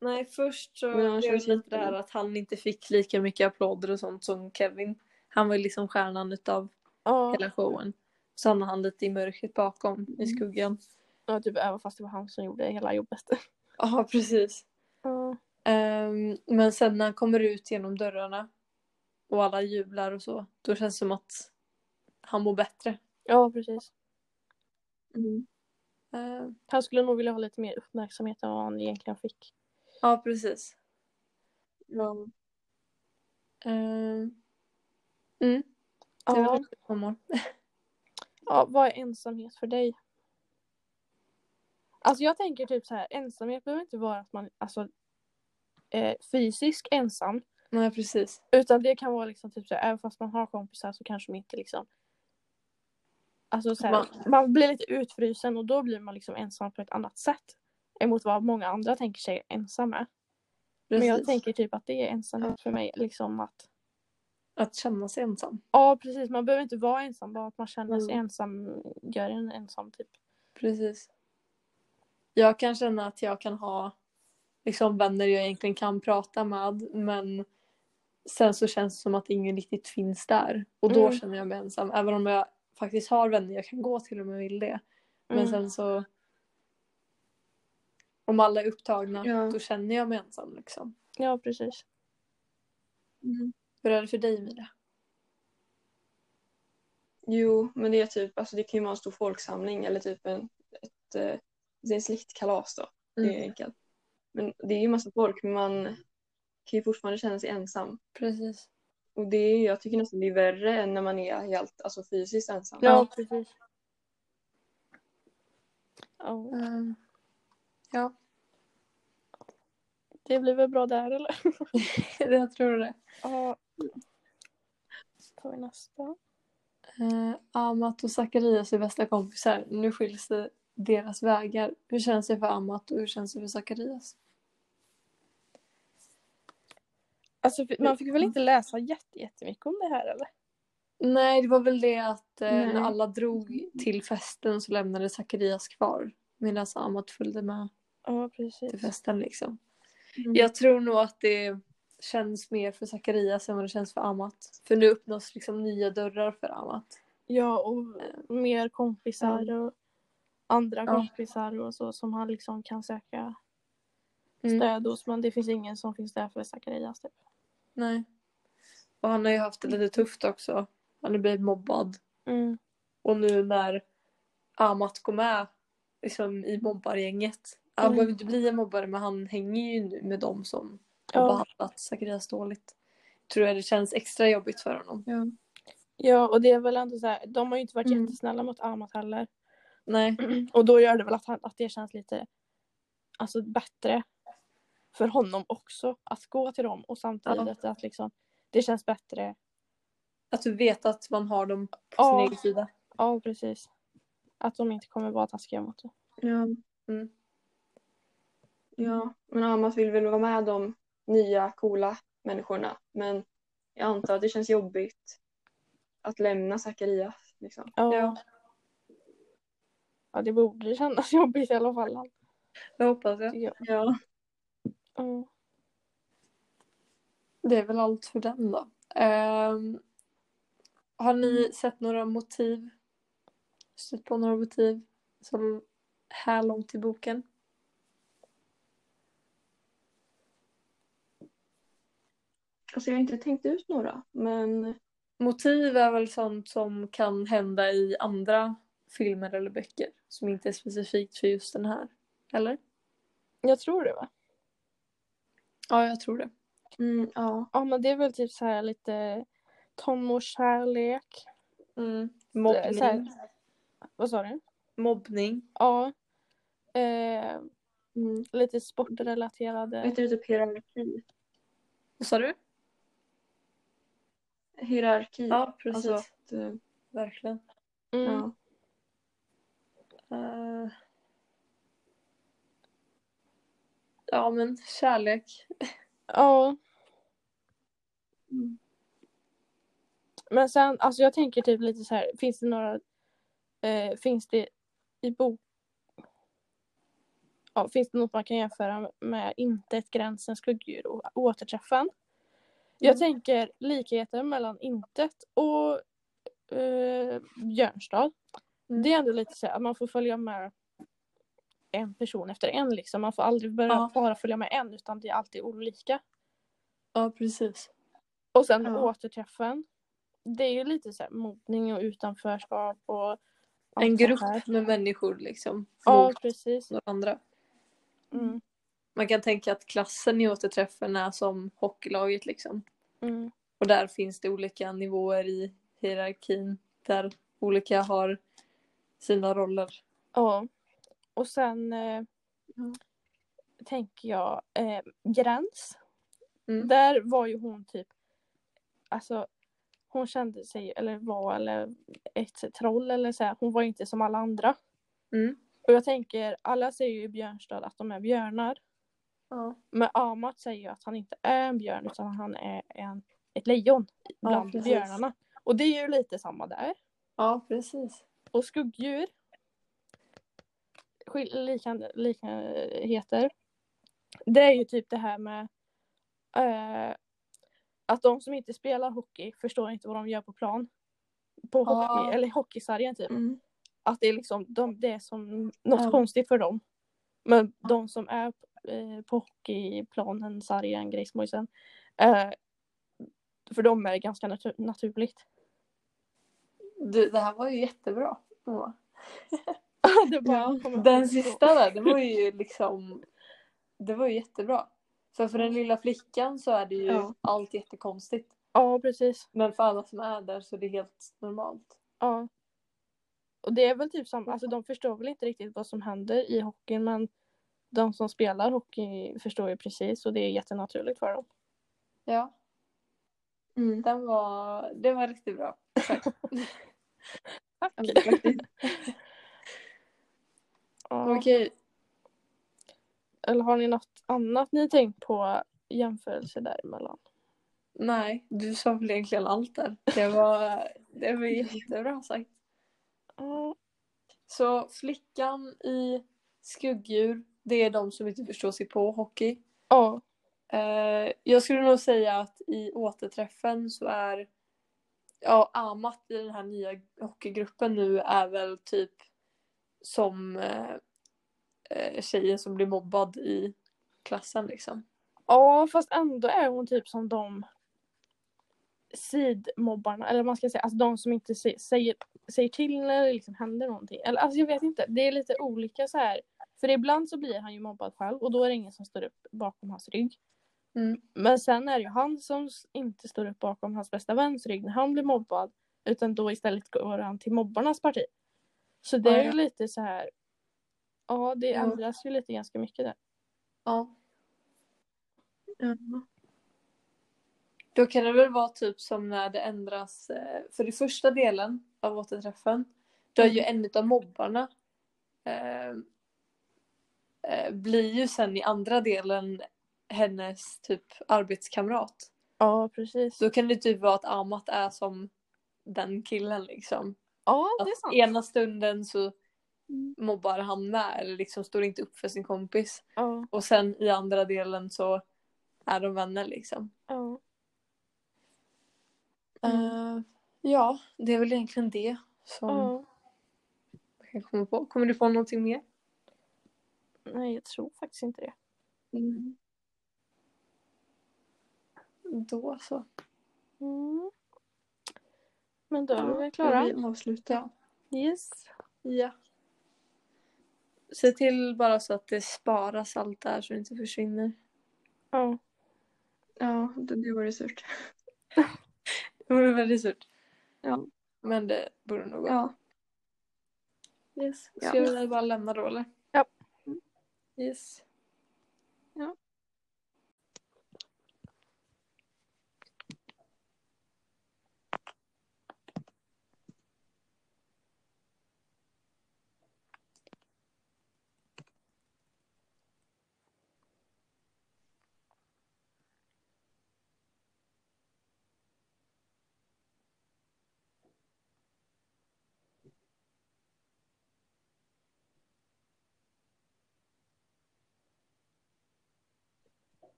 Speaker 1: nej, först så
Speaker 3: Men han
Speaker 1: blev det
Speaker 3: känns
Speaker 1: lite
Speaker 3: inte-
Speaker 1: det här att han inte fick lika mycket applåder och sånt som Kevin. Han var ju liksom stjärnan utav
Speaker 2: Ja,
Speaker 1: hela showen. Så hamnade han lite i mörkret bakom, i skuggan.
Speaker 2: ja typ även fast det var han som gjorde hela jobbet.
Speaker 1: Ja, precis.
Speaker 2: Ja.
Speaker 1: Ehm, men sen när han kommer ut genom dörrarna och alla jublar och så, då känns det som att han mår bättre.
Speaker 2: Ja, precis.
Speaker 3: Mm.
Speaker 1: Ehm,
Speaker 2: Han skulle nog vilja ha lite mer uppmärksamhet än vad han egentligen fick.
Speaker 1: ja, precis.
Speaker 3: Ja.
Speaker 1: Ehm, mm, det är
Speaker 2: Ja.
Speaker 1: väl hur han mår.
Speaker 2: ja, vad är ensamhet för dig? Alltså jag tänker typ så här, ensamhet behöver inte vara att man alltså eh, fysisk ensam.
Speaker 1: Nej, precis.
Speaker 2: Utan det kan vara liksom typ så här, även fast man har kompisar så kanske man inte liksom Alltså så här, man...
Speaker 1: Man-
Speaker 2: blir lite utfrysen och då blir man liksom ensam på ett annat sätt. Emot vad många andra tänker sig ensam är. Men
Speaker 1: precis.
Speaker 2: jag tänker typ att det är ensamhet för mig liksom att
Speaker 1: Att känna sig ensam.
Speaker 2: Ja precis, man behöver inte vara ensam, bara att man känner sig
Speaker 1: Mm.
Speaker 2: ensam gör en ensam typ.
Speaker 1: Precis. Jag kan känna att jag kan ha liksom vänner jag egentligen kan prata med men sen så känns det som att ingen riktigt finns där och då
Speaker 2: Mm.
Speaker 1: känner jag mig ensam även om jag faktiskt har vänner jag kan gå till om jag vill det. Men
Speaker 2: Mm.
Speaker 1: sen så om alla är upptagna
Speaker 3: Ja.
Speaker 1: då känner jag mig ensam liksom.
Speaker 2: Ja precis.
Speaker 3: Mm.
Speaker 1: Hur är det för dig Mira?
Speaker 3: Jo, men det är typ, alltså det kan ju vara en stor folksamling eller typ en, ett, eh, det är en släktkalas då. Det är
Speaker 1: Mm.
Speaker 3: ju enkelt. Men det är ju massa folk men man kan ju fortfarande känna sig ensam.
Speaker 1: Precis.
Speaker 3: Och det är, jag tycker nästan det är värre än när man är helt alltså fysiskt ensam.
Speaker 2: Ja,
Speaker 1: Ja.
Speaker 2: precis. Ja,
Speaker 1: Ehm, ja,
Speaker 2: det blir väl bra där eller?
Speaker 1: jag tror det.
Speaker 2: Ja. Tar vi nästa.
Speaker 1: Eh, Amat och Zacharias är bästa kompisar. Nu skiljs det deras vägar. Hur känns det för Amat och hur känns det för Zacharias?
Speaker 2: Alltså fi- man fick väl inte läsa jätte- jättemycket om det här eller?
Speaker 1: Nej, det var väl det att eh,
Speaker 3: Nej.
Speaker 1: när alla drog till festen så lämnade Zacharias kvar. Medan Amat följde med
Speaker 2: Ja
Speaker 1: till
Speaker 2: precis.
Speaker 1: festen liksom.
Speaker 3: Mm.
Speaker 1: Jag tror nog att det känns mer för Zacharias än vad det känns för Amat. För nu öppnas liksom nya dörrar för Amat.
Speaker 2: Ja och mer kompisar och andra
Speaker 1: Ja.
Speaker 2: kompisar och så som han liksom kan söka
Speaker 1: Mm.
Speaker 2: stöd hos. Men det finns ingen som finns där för Zacharias typ.
Speaker 1: Nej. Och han har ju haft det lite tufft också. Han har blivit mobbad.
Speaker 2: Mm.
Speaker 1: Och nu när Amat går med liksom, i mobbargänget. Han
Speaker 2: Mm.
Speaker 1: behöver inte bli en mobbare men han hänger ju nu med dem som har
Speaker 2: Ja.
Speaker 1: behandlat Zacharias dåligt. Tror jag det känns extra jobbigt för honom.
Speaker 3: Ja.
Speaker 2: Ja, och det är väl ändå så här, de har ju inte varit
Speaker 1: Mm.
Speaker 2: jättesnälla mot Amat heller.
Speaker 1: Nej.
Speaker 2: Och då gör det väl att, han, att det känns lite alltså, bättre för honom också att gå till dem och samtidigt att liksom, det känns bättre.
Speaker 1: Att du vet att man har dem på sin
Speaker 2: Ja.
Speaker 1: egen sida.
Speaker 2: Ja, precis. Att de inte kommer vara taskiga mot det.
Speaker 3: Ja.
Speaker 1: Mm.
Speaker 3: ja, men Amat vill väl vara med de nya coola människorna. Men jag antar att det känns jobbigt att lämna Zacharias. Liksom.
Speaker 2: Ja, ja.
Speaker 1: Ja.
Speaker 2: det borde kännas jobbigt i alla fall.
Speaker 1: Det hoppas jag.
Speaker 2: tycker jag.
Speaker 3: Ja.
Speaker 2: Mm.
Speaker 1: Det är väl allt för den då. Ehm, har ni sett några motiv? Stött på några motiv som här långt i boken?
Speaker 3: Alltså jag har inte tänkt ut några, men
Speaker 1: Motiv är väl sånt som kan hända i andra filmer eller böcker som inte är specifikt för just den här. Eller?
Speaker 2: Jag tror det va?
Speaker 1: Ja, jag tror det.
Speaker 3: mm, ja.
Speaker 2: Ja, men det är väl typ så här lite tonårskärlek.
Speaker 1: Mobbning.
Speaker 2: Så här- Vad sa du?
Speaker 1: Mobbning.
Speaker 2: Ja. Eh,
Speaker 3: Mm.
Speaker 2: lite sportrelaterade.
Speaker 3: Vet du typ hierarki?
Speaker 1: Vad sa du?
Speaker 3: Hierarki.
Speaker 1: Ja, precis.
Speaker 3: Alltså att, eh,
Speaker 1: Verkligen.
Speaker 2: Mm.
Speaker 3: ja.
Speaker 1: Eh. Ja, men kärlek.
Speaker 2: Ja.
Speaker 3: Mm.
Speaker 2: Men sen, alltså jag tänker typ lite så här, finns det några, eh, finns det i bok, ja, finns det något man kan jämföra med inte ett gränsens skuggdjur och återträffen? Jag
Speaker 1: Mm.
Speaker 2: tänker likheter mellan intet och eh, Björnstad.
Speaker 1: Mm.
Speaker 2: Det är ändå lite så här, att man får följa med en person efter en liksom. Man får aldrig börja,
Speaker 1: Ja.
Speaker 2: bara följa med en utan det är alltid olika.
Speaker 1: Ja, precis.
Speaker 2: Och sen
Speaker 3: Ja.
Speaker 2: återträffen. Det är ju lite så här mobbning och utanförskap och allt
Speaker 1: En
Speaker 2: sånt här.
Speaker 1: grupp med människor liksom.
Speaker 2: Ja,
Speaker 1: Mot
Speaker 2: precis.
Speaker 1: varandra.
Speaker 2: Mm.
Speaker 1: Man kan tänka att klassen i återträffen är som hockeylaget liksom.
Speaker 2: Mm.
Speaker 1: Och där finns det olika nivåer i hierarkin. Där olika har sina roller.
Speaker 2: Ja. Och sen eh,
Speaker 3: Ja.
Speaker 2: tänker jag eh, Gräns.
Speaker 1: Mm.
Speaker 2: Där var ju hon typ, alltså hon kände sig eller var eller ett troll eller så här. Hon var inte som alla andra.
Speaker 1: Mm.
Speaker 2: Och jag tänker, alla säger ju i Björnstad att de är björnar.
Speaker 1: Ja,
Speaker 2: Men Amat säger ju att han inte är en björn utan han är en, ett lejon bland
Speaker 1: precis.
Speaker 2: björnarna. Och det är ju lite samma där.
Speaker 1: ja precis.
Speaker 2: Och skuggdjur. skil- Liknande, liknandheter. Det är ju typ det här med eh, att de som inte spelar hockey förstår inte vad de gör på plan. På
Speaker 1: Ja.
Speaker 2: hockey, eller hockeysargen typ.
Speaker 3: Mm.
Speaker 2: Att det är liksom de, det är som något
Speaker 1: Ja.
Speaker 2: konstigt för dem. Men de som är eh, på hockeyplanen, sargen, grismojsen. Eh, för dem är det ganska natur- naturligt.
Speaker 1: Du, det här var ju jättebra. Moa.
Speaker 2: det bara
Speaker 3: Ja.
Speaker 2: kommer-
Speaker 1: Den sista där, det var ju liksom... Det var ju jättebra. För för den lilla flickan så är det ju
Speaker 3: Ja.
Speaker 1: allt jättekonstigt.
Speaker 2: Ja, precis.
Speaker 1: Men för alla som är där så är det helt normalt.
Speaker 2: Ja. Och det är väl typ samma, alltså de förstår väl inte riktigt vad som händer i hockeyn men de som spelar hockey förstår ju precis och det är jättenaturligt för dem.
Speaker 1: Ja,
Speaker 3: Mm.
Speaker 1: den var, det var riktigt bra. Tack.
Speaker 2: Tack!
Speaker 3: Ja, faktiskt.
Speaker 2: Ja.
Speaker 1: Okej.
Speaker 2: Eller har ni något annat ni tänkt på jämförelse däremellan?
Speaker 1: Nej, du sa väl egentligen allt där. Det var, det var jättebra sagt.
Speaker 2: Ja.
Speaker 1: Så flickan i skuggdjur, det är de som inte förstår sig på hockey.
Speaker 2: Ja.
Speaker 1: Eh, jag skulle nog säga att i återträffen så är ja, Amat i den här nya hockeygruppen nu är väl typ som eh, eh, tjejen som blir mobbad i klassen liksom.
Speaker 2: ja, fast ändå är hon typ som de sidmobbarna, eller vad man ska säga, alltså de som inte se- säger, säger till när det liksom händer någonting. Eller alltså jag vet inte, det är lite olika så här. För ibland så blir han ju mobbad själv och då är det ingen som står upp bakom hans rygg.
Speaker 1: Mm.
Speaker 2: Men sen är det ju han som s- inte står upp bakom hans bästa väns rygg när han blir mobbad. Utan då istället går han till mobbarnas parti. Så det är ju
Speaker 1: Ja.
Speaker 2: lite så här. Ja, det
Speaker 1: Ja.
Speaker 2: ändras ju lite ganska mycket där.
Speaker 1: Ja. Då kan det väl vara typ som när det ändras, eh, för i första delen av återträffen, då är ju
Speaker 2: Mm.
Speaker 1: en av mobbarna eh, eh, blir ju sen i andra delen hennes typ arbetskamrat.
Speaker 2: Ja, precis.
Speaker 1: Då kan det typ vara att Amat är som den killen liksom.
Speaker 2: Ja,
Speaker 1: Att
Speaker 2: det är sant. Mm.
Speaker 1: ena stunden så mobbar han med eller liksom står inte upp för sin kompis.
Speaker 2: Ja,
Speaker 1: Och sen i andra delen så är de vänner liksom.
Speaker 2: ja.
Speaker 1: Eh, ja, det är väl egentligen det som
Speaker 2: ja.
Speaker 1: jag kan komma på. Kommer du på någonting mer?
Speaker 2: Nej, jag tror faktiskt inte det.
Speaker 3: Mm.
Speaker 1: Då så.
Speaker 2: Mm. Men då är vi väl
Speaker 3: Ska
Speaker 2: klara.
Speaker 3: vi avsluta?
Speaker 1: Ja.
Speaker 2: Yes.
Speaker 1: Ja. Se till bara så att det sparas allt där så det inte försvinner.
Speaker 2: Ja.
Speaker 3: Ja, det, det var det surt.
Speaker 1: Det vore väldigt surt.
Speaker 3: Ja.
Speaker 1: Men det borde nog gå.
Speaker 3: Ja,
Speaker 1: Yes. Ska
Speaker 3: Ja.
Speaker 1: vi bara lämna då eller?
Speaker 2: Ja.
Speaker 1: Yes.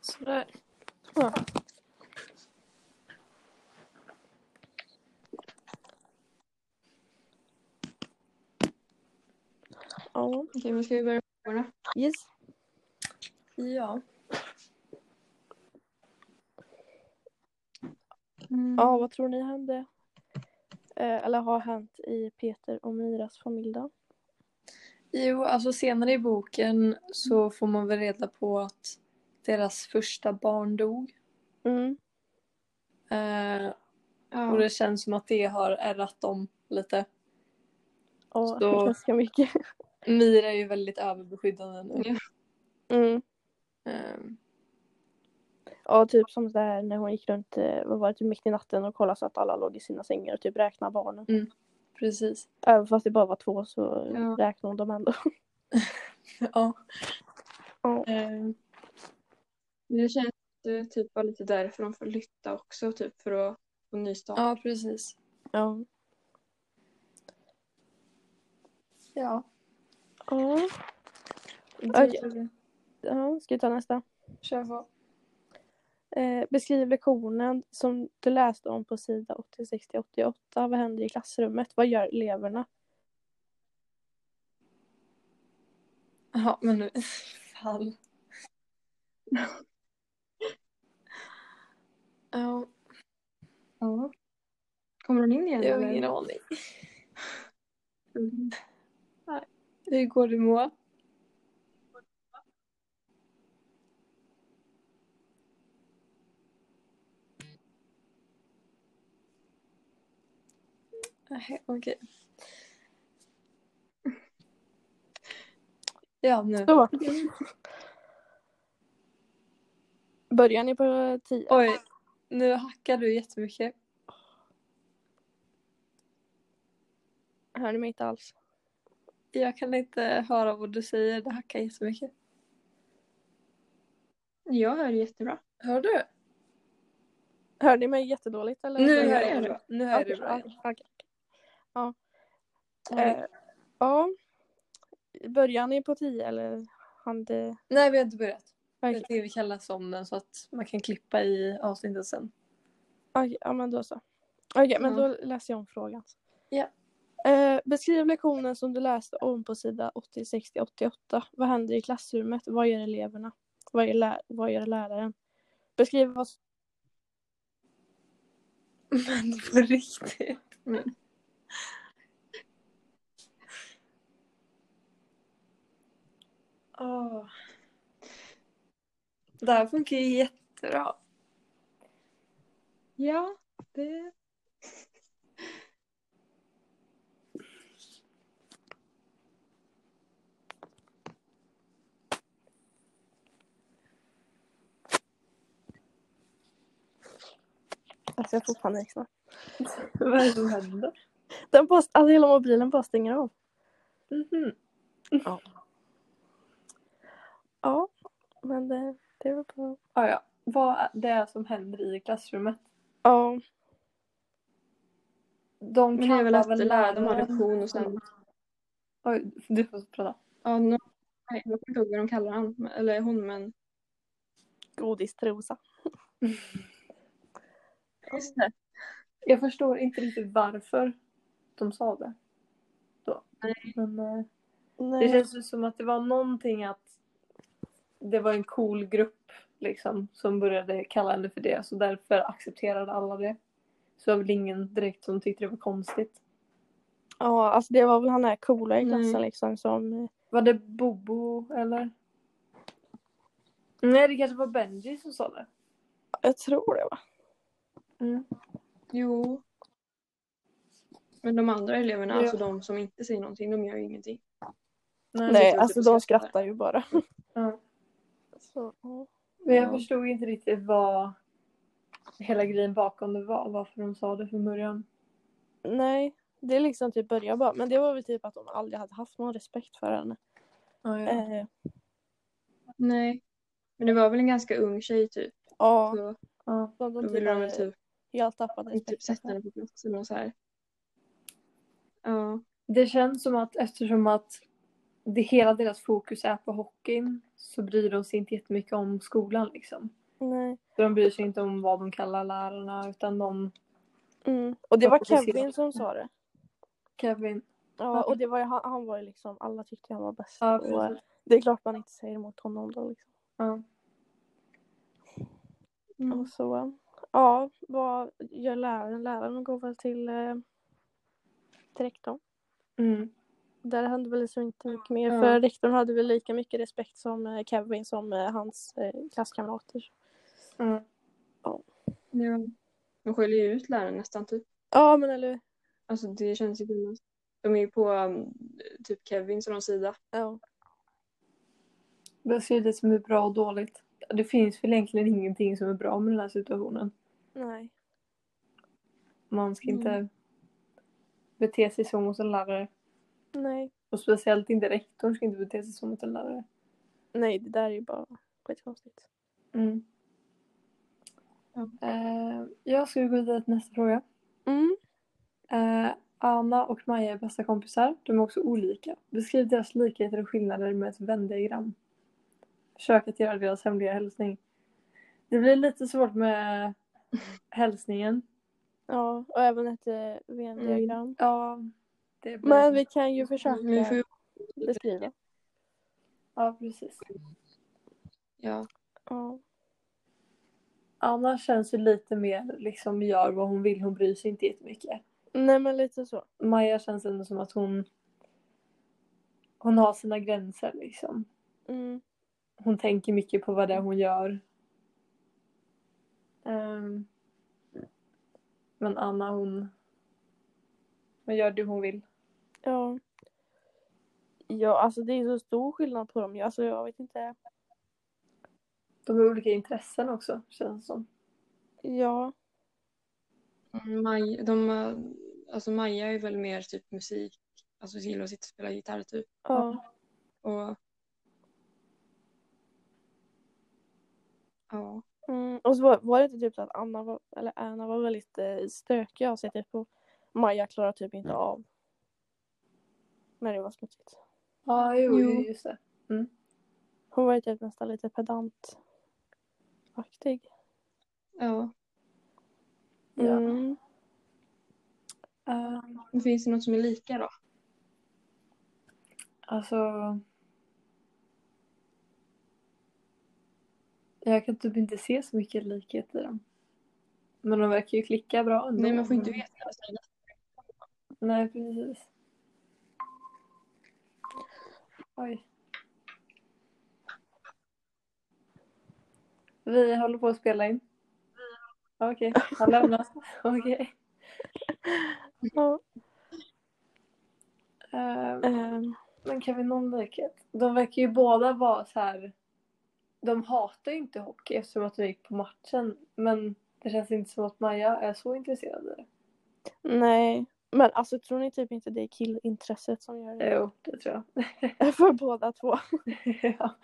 Speaker 1: Sådär.
Speaker 2: Ja. Ja.
Speaker 3: okej, men ska vi börja med frågorna?
Speaker 2: Yes.
Speaker 1: Ja.
Speaker 3: Mm.
Speaker 2: Ja, vad tror ni hände? Eh, eller har hänt i Peter och Miras familj då?
Speaker 1: Jo, alltså senare i boken så får man väl reda på att deras första barn dog.
Speaker 2: Mm.
Speaker 1: Eh,
Speaker 3: Ja.
Speaker 1: Och det känns som att det har ärrat dem lite.
Speaker 2: Ja,
Speaker 1: Så-
Speaker 2: ganska mycket.
Speaker 1: Mira är ju väldigt överbeskyddande nu.
Speaker 3: Ja.
Speaker 2: Mm.
Speaker 1: Ehm,
Speaker 2: Ja, typ som det här när hon gick runt, eh, vad var det, typ mitt i natten och kollade så att alla låg i sina sängar och typ räknade barnen.
Speaker 1: precis.
Speaker 2: Även fast det bara var två så
Speaker 3: Ja.
Speaker 2: räknade hon dem ändå.
Speaker 1: Ja.
Speaker 2: Ja.
Speaker 1: Ehm,
Speaker 3: Men Det känns eh, typ var lite därför de får flytta också, typ för att få en ny start.
Speaker 1: ja, precis.
Speaker 2: Ja.
Speaker 1: Ja.
Speaker 2: Ja.
Speaker 3: Typ
Speaker 1: Du,
Speaker 2: Okej. ja. Ska vi ta nästa?
Speaker 1: Kör på.
Speaker 2: Eh, beskriv lektionen som du läste om på sida 80-60-88. Vad händer i klassrummet? Vad gör eleverna?
Speaker 1: Ja, men nu. Fan. Ja,
Speaker 3: Ja. Kommer hon in igen?
Speaker 1: jag har
Speaker 3: eller?
Speaker 1: ingen aning.
Speaker 3: Mm.
Speaker 1: Hur går det Moa? Nähä, Äh, Okej. Ja, nu.
Speaker 2: Så. Börjar ni på 10?
Speaker 1: Oj, nu hackar du jättemycket.
Speaker 2: Hör ni mig inte alls?
Speaker 1: Jag kan inte höra vad du säger, det hackar jättemycket.
Speaker 3: Jag hör jättebra.
Speaker 1: Hör du?
Speaker 2: Hör ni mig jättedåligt eller?
Speaker 1: Nu
Speaker 3: jag
Speaker 1: hör
Speaker 3: det
Speaker 1: jag det bra. Nu hör jag det bra.
Speaker 2: Okej, okej. Ja.
Speaker 1: Ja.
Speaker 2: Eh, ja. Börjar ni på 10 eller hann det?
Speaker 1: Nej, vi har inte börjat. Det är
Speaker 2: Okej,
Speaker 1: det vi kallar som den så att man kan klippa i avsnittet sen.
Speaker 2: okej, ja men då så. Okej, men
Speaker 3: Ja.
Speaker 2: då läser jag om frågan.
Speaker 1: Ja.
Speaker 2: Eh, beskriv lektionen som du läste om på sida 80, 60, 88. Vad händer i klassrummet? Vad gör eleverna? Vad gör, lä- vad gör läraren? Beskriv vad som...
Speaker 1: Men på
Speaker 3: Mm.
Speaker 1: riktigt. Åh. Det här funkar ju jättebra.
Speaker 3: Ja, det...
Speaker 2: Alltså jag får panik snart.
Speaker 1: Vad är det som händer?
Speaker 2: Den bara, alltså hela mobilen bara stänger av.
Speaker 1: Mhm.
Speaker 2: Ja, men det, det var bra.
Speaker 1: Ah, ja. Vad är det är som händer i klassrummet?
Speaker 2: Ja,
Speaker 1: De
Speaker 3: Men det är väl
Speaker 1: kallar
Speaker 3: att lärare de har
Speaker 1: läraren-
Speaker 3: lektion och sen...
Speaker 1: Oj, du får prata.
Speaker 3: Ja, no... Nej, jag kommer inte ihåg vad de kallar han, eller hon, men...
Speaker 2: godistrosa.
Speaker 3: Just det.
Speaker 1: Jag förstår inte riktigt varför de sa det. Då. Men, eh, det
Speaker 2: Nej.
Speaker 1: känns ju som att det var någonting att det var en cool grupp liksom, som började kalla henne för det. Så därför accepterade alla det. Så det var väl ingen direkt som tyckte det var konstigt.
Speaker 2: Ja, alltså det var väl han här coola i
Speaker 3: Nej.
Speaker 2: klassen liksom som... eh,
Speaker 1: Var det Bobo eller? Nej, det kanske var Benji som sa det.
Speaker 2: Jag tror det va?
Speaker 3: Jo. Men de andra eleverna,
Speaker 1: Ja.
Speaker 3: alltså de som inte säger någonting, de gör ju ingenting.
Speaker 1: Nej,
Speaker 2: Nej,
Speaker 3: typ
Speaker 2: alltså
Speaker 3: och
Speaker 2: de
Speaker 3: skrattar.
Speaker 2: skrattar ju bara.
Speaker 1: Ja.
Speaker 2: Så, ja.
Speaker 1: Men jag
Speaker 3: Ja.
Speaker 1: förstod inte riktigt vad hela grejen bakom det var. Varför de sa det från början.
Speaker 2: Nej, det är liksom typ börja bara. Men det var väl typ att de aldrig hade haft någon respekt för henne.
Speaker 1: Ja, ja.
Speaker 2: Eh,
Speaker 3: Nej. Men det var väl en ganska ung tjej typ.
Speaker 2: ja,
Speaker 3: Så
Speaker 1: Ja.
Speaker 2: de, de
Speaker 3: då
Speaker 2: typ
Speaker 3: ville de
Speaker 2: hade
Speaker 3: väl typ,
Speaker 2: helt tappat
Speaker 3: typ
Speaker 2: respekten.
Speaker 3: sätta
Speaker 2: för henne.
Speaker 3: henne på plats eller något så här. Ja.
Speaker 1: Det känns som att eftersom att det hela deras fokus är på hockeyn så bryr de sig inte jättemycket om skolan liksom.
Speaker 2: Nej.
Speaker 1: De bryr sig inte om vad de kallar lärarna utan de
Speaker 2: Mm. Och det var
Speaker 1: Ja, precis.
Speaker 2: Kevin som sa det.
Speaker 1: Kevin.
Speaker 2: Ja, och det var ju, han, han var ju liksom, alla tyckte han var bäst.
Speaker 1: Ja,
Speaker 2: och eh,
Speaker 1: precis.
Speaker 2: det är klart man inte säger emot honom då liksom.
Speaker 1: Ja.
Speaker 2: Och så, eh, ja, vad gör läraren? Läraren går väl till eh, till rektorn.
Speaker 1: Mm.
Speaker 2: Där hände väl liksom inte mycket mer.
Speaker 3: Ja.
Speaker 2: För rektorn hade väl lika mycket respekt som eh, Kevin som eh, hans eh, klasskamrater.
Speaker 1: Mm.
Speaker 3: Ja. De skäller ju ut läraren nästan typ.
Speaker 2: Ja, men eller
Speaker 3: Alltså det känns ju konstigt. De är ju på um, typ Kevins och de sida.
Speaker 2: Ja.
Speaker 1: Jag ser det som är bra och dåligt. Det finns väl egentligen ingenting som är bra med den här situationen.
Speaker 2: Nej.
Speaker 1: Man ska
Speaker 3: Mm.
Speaker 1: inte bete sig så mot en lärare.
Speaker 2: Nej.
Speaker 1: Och speciellt inte rektorn ska inte bete sig så mot en lärare.
Speaker 2: Nej, det där är ju bara skitkonstigt.
Speaker 1: Mm.
Speaker 3: Ja.
Speaker 1: Eh, jag ska gå vidare till nästa fråga.
Speaker 2: Mm.
Speaker 1: Eh, Anna och Maja är bästa kompisar. De är också olika. Beskriv deras likheter och skillnader med ett vändiagram. Försök att göra deras hemliga hälsning. Det blir lite svårt med hälsningen.
Speaker 2: Ja, och även ett eh, Venn-diagram.
Speaker 1: Ja, det blir
Speaker 2: Men vi kan ju försöka
Speaker 3: Men vi får ju...
Speaker 2: beskriva.
Speaker 1: Ja, precis.
Speaker 3: Ja.
Speaker 2: Ja.
Speaker 1: Anna känns ju lite mer liksom gör vad hon vill. Hon bryr sig inte jättemycket.
Speaker 2: Nej, men lite så.
Speaker 1: Maja känns ändå som att hon hon har sina gränser liksom.
Speaker 2: Mm.
Speaker 1: Hon tänker mycket på vad det är hon gör. Ehm, men Anna hon hon gör det hon vill.
Speaker 2: Ja. Ja, alltså det är så stor skillnad på dem. Alltså jag vet inte.
Speaker 1: De har olika intressen också känns det som.
Speaker 2: Ja.
Speaker 3: Maj, de, eh, alltså Maja är väl mer typ musik. Alltså gillar att sitta och spela gitarr typ.
Speaker 2: Ja.
Speaker 3: Och... Ja.
Speaker 2: Mm. Och så var, var det inte typ så att Anna var, eller Anna var väldigt eh, stökig av sig typ. Och Maja klarar typ inte av. När det var smutsigt.
Speaker 1: Ja, jo,
Speaker 3: Jo.
Speaker 1: jo. just det.
Speaker 2: Hon var ju typ nästan lite pedantaktig.
Speaker 3: ja.
Speaker 1: Ja.
Speaker 2: Mm.
Speaker 1: Ehm,
Speaker 3: Men Finns det något som är lika då?
Speaker 1: alltså Jag kan typ inte se så mycket likhet i dem. Men de verkar ju klicka bra ändå.
Speaker 3: Nej man får inte veta.
Speaker 1: Nej, precis. Oj. Vi håller på att spela in. Okej, han lämnar. Okej.
Speaker 2: Ja,
Speaker 1: Ehm,
Speaker 2: ehm,
Speaker 1: Men kan vi någon likhet? De verkar ju båda vara så här. De hatar ju inte hockey eftersom att de gick på matchen. Men det känns inte som att Maja är så intresserad av det.
Speaker 2: nej. Men alltså tror ni typ inte det är killintresset som gör det?
Speaker 1: Jo, det tror
Speaker 2: För båda två.
Speaker 1: jag. ja.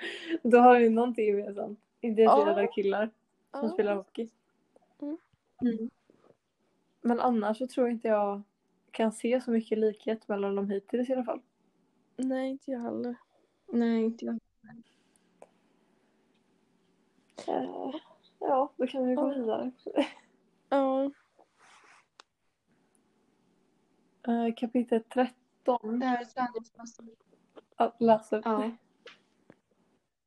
Speaker 1: Då har vi någonting gemensamt. Intresserade av killar som
Speaker 2: Ja.
Speaker 1: spelar hockey.
Speaker 2: Mm.
Speaker 3: Mm.
Speaker 1: Men annars så tror jag inte jag kan se så mycket likhet mellan dem hittills i alla fall.
Speaker 2: Nej, inte jag heller.
Speaker 3: Nej, inte jag.
Speaker 1: Eh, Ja, då kan vi gå
Speaker 2: Ja.
Speaker 1: vidare.
Speaker 2: Ja,
Speaker 1: Eh, Kapitel 13.
Speaker 3: Det här är träningspasset.
Speaker 1: Ja, Läs upp.
Speaker 3: Ja.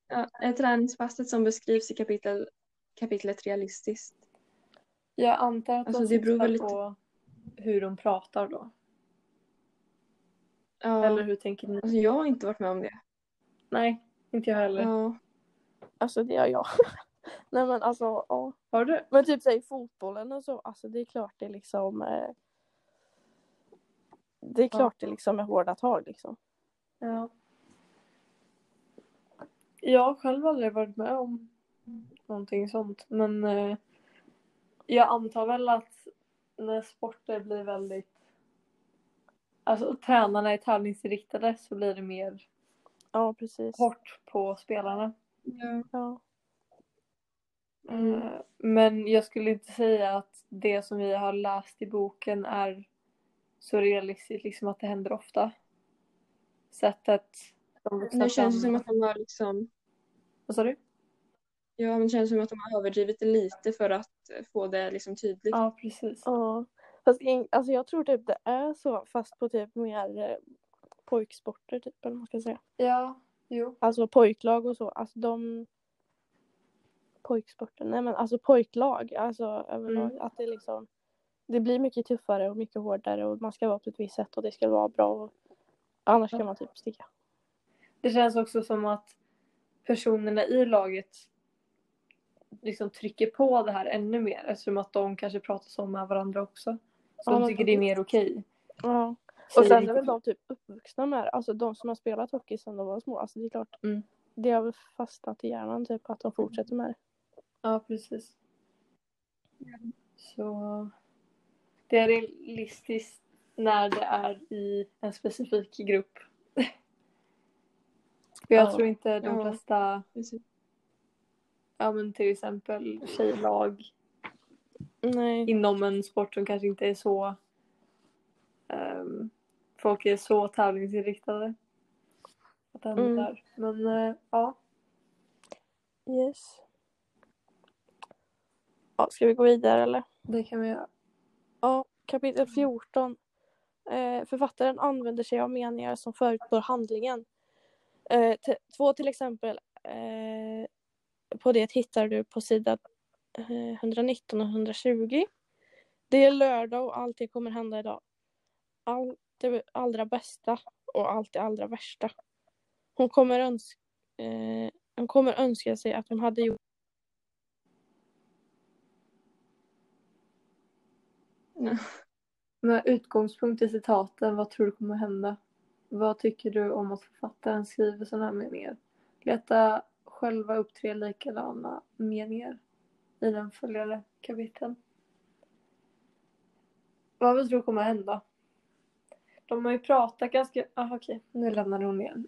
Speaker 3: ja. Är träningspasset som beskrivs i kapitel, kapitlet realistiskt?
Speaker 1: Jag antar att
Speaker 3: Alltså,
Speaker 1: de
Speaker 3: det beror
Speaker 1: syftar
Speaker 3: väl lite-
Speaker 1: på hur de pratar då.
Speaker 3: Ja.
Speaker 1: Eller hur tänker ni?
Speaker 3: Alltså, jag har inte varit med om det.
Speaker 1: Nej, inte jag heller.
Speaker 3: Ja.
Speaker 2: alltså det gör jag. nej men alltså, ja.
Speaker 1: Har du?
Speaker 2: Men typ säg fotbollen och så, alltså det är klart det liksom. Eh, det är
Speaker 1: Ja.
Speaker 2: klart det liksom är hårda tag liksom.
Speaker 1: Ja. Jag har själv aldrig varit med om någonting sånt. Men eh, jag antar väl att när sporter blir väldigt... Alltså tränarna är tävlingsinriktade så blir det mer
Speaker 2: Ja, precis.
Speaker 1: hårt på spelarna.
Speaker 3: Ja.
Speaker 2: Ja.
Speaker 3: Mm.
Speaker 1: Eh, Men jag skulle inte säga att det som vi har läst i boken är så realistiskt liksom att det händer ofta. Sättet de
Speaker 3: Det känns ju som
Speaker 1: fram-
Speaker 3: att de har liksom,
Speaker 1: Vad sa du?
Speaker 3: ja, men det känns som att de har överdrivit det lite för att få det liksom tydligt.
Speaker 1: Ja, precis.
Speaker 2: Ja. Fast ing- alltså jag tror typ det är så fast på typ mer eh, pojksporter typ eller vad man ska säga.
Speaker 1: Ja, jo.
Speaker 2: Alltså pojklag och så. Alltså de pojksporter. Nej men alltså pojklag alltså överlag. Att det liksom det blir mycket tuffare och mycket hårdare och man ska vara på ett visst sätt och det ska vara bra. Och, annars
Speaker 1: Ja.
Speaker 2: kan man typ sticka.
Speaker 1: Det känns också som att personerna i laget liksom trycker på det här ännu mer eftersom att de kanske pratar så med varandra också. Så
Speaker 2: Ja,
Speaker 1: de
Speaker 2: men
Speaker 1: tycker det är mer okej.
Speaker 2: Ja. Och
Speaker 1: Säger liksom-
Speaker 2: sen
Speaker 1: inte
Speaker 2: är väl
Speaker 1: så.
Speaker 2: de typ uppvuxna med det. Alltså de som har spelat hockey sedan de var små. Alltså det är klart.
Speaker 1: Mm.
Speaker 2: Det har väl fastnat i hjärnan typ att de fortsätter med det.
Speaker 1: Ja, precis. Så det är realistiskt när det är i en specifik grupp. För jag
Speaker 2: Ja.
Speaker 1: tror inte de
Speaker 3: Ja.
Speaker 1: flesta,
Speaker 3: Precis.
Speaker 1: ja men till exempel tjejlag
Speaker 2: Nej.
Speaker 1: inom en sport som kanske inte är så, ehm, folk är så tävlingsinriktade. Att det händer
Speaker 2: Mm.
Speaker 1: där. Men eh, ja,
Speaker 2: Yes. Ja, ska vi gå vidare eller?
Speaker 1: det kan vi göra.
Speaker 2: Ja, kapitel 14. Eh, författaren använder sig av meningar som förutspår handlingen. Eh, te- två till exempel. Eh, på det hittar du på sida eh, 119 och 120. Det är lördag och allt det kommer hända idag. Allt det allra bästa och allt det allra värsta. Hon kommer, öns- eh, hon kommer önska sig att hon hade gjort
Speaker 1: Med utgångspunkt i citaten, vad tror du kommer hända? Vad tycker du om att författaren skriver sådana här meningar? Leta själva upp tre likadana meningar i den följande kapiteln. Vad vi tror kommer hända? De har ju pratat ganska... Ah, okej, nu lämnar hon igen.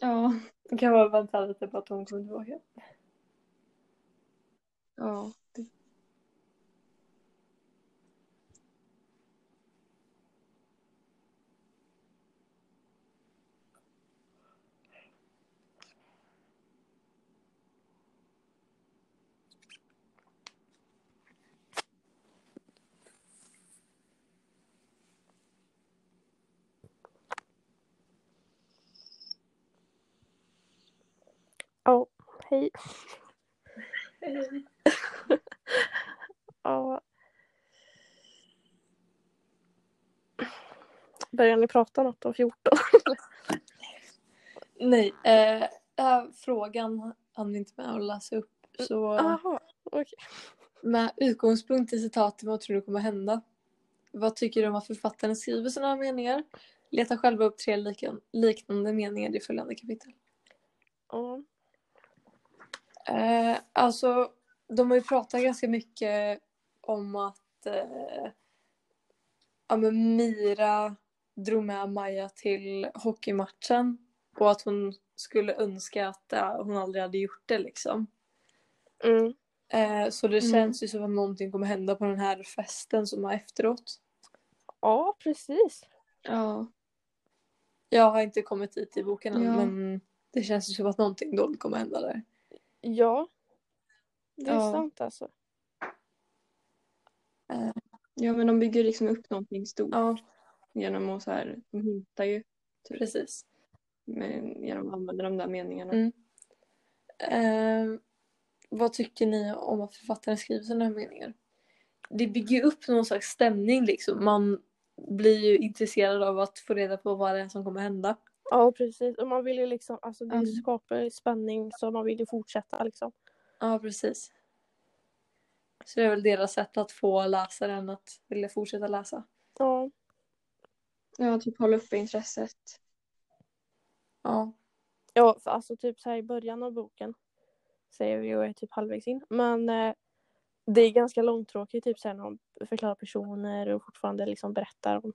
Speaker 3: Ja.
Speaker 1: Jag kan bara vänta lite på att hon kommer tillbaka.
Speaker 3: ja. Det-
Speaker 2: Ja, hej. Ja. Börjar ni prata något om 14?
Speaker 1: Nej, eh, den här frågan hann inte med att läsa upp. Så
Speaker 2: Jaha, okej.
Speaker 1: med utgångspunkt i citaten, vad tror du kommer hända? Vad tycker du om att författaren skriver sådana här meningar? Leta själva upp tre likan- liknande meningar i följande kapitel.
Speaker 2: Ja.
Speaker 1: Eh, alltså, de har ju pratat ganska mycket om att eh, ja, men Mira drog med Maja till hockeymatchen och att hon skulle önska att eh, hon aldrig hade gjort det liksom.
Speaker 2: Mm.
Speaker 1: Eh, så det
Speaker 3: Mm.
Speaker 1: känns ju som att någonting kommer hända på den här festen som var efteråt.
Speaker 2: ja, precis.
Speaker 3: Ja.
Speaker 1: Jag har inte kommit dit i boken än
Speaker 3: Ja.
Speaker 1: men det känns ju som att någonting dåligt kommer hända där.
Speaker 2: Ja. Det är
Speaker 3: Ja.
Speaker 2: sant alltså.
Speaker 3: ja, men de bygger liksom upp någonting stort
Speaker 1: Ja,
Speaker 3: genom att så här, de hintar ju
Speaker 1: precis.
Speaker 3: med, genom att använda de där meningarna.
Speaker 1: Mm. Eh, vad tycker ni om att författaren skriver sådana här meningar? Det bygger ju upp någon slags stämning liksom. Man blir ju intresserad av att få reda på vad det är som kommer hända.
Speaker 2: Ja, precis. Och man vill ju liksom, alltså det
Speaker 3: Mm.
Speaker 2: skapar ju spänning så man vill ju fortsätta liksom.
Speaker 1: Ja, precis. Så det är väl deras sätt att få läsaren att vilja fortsätta läsa.
Speaker 2: Ja.
Speaker 3: Ja, typ hålla uppe intresset.
Speaker 1: Ja,
Speaker 2: Ja, för alltså typ så här i början av boken säger vi och är typ halvvägs in. Men eh, det är ganska långtråkigt typ så här när de förklarar personer och fortfarande liksom berättar om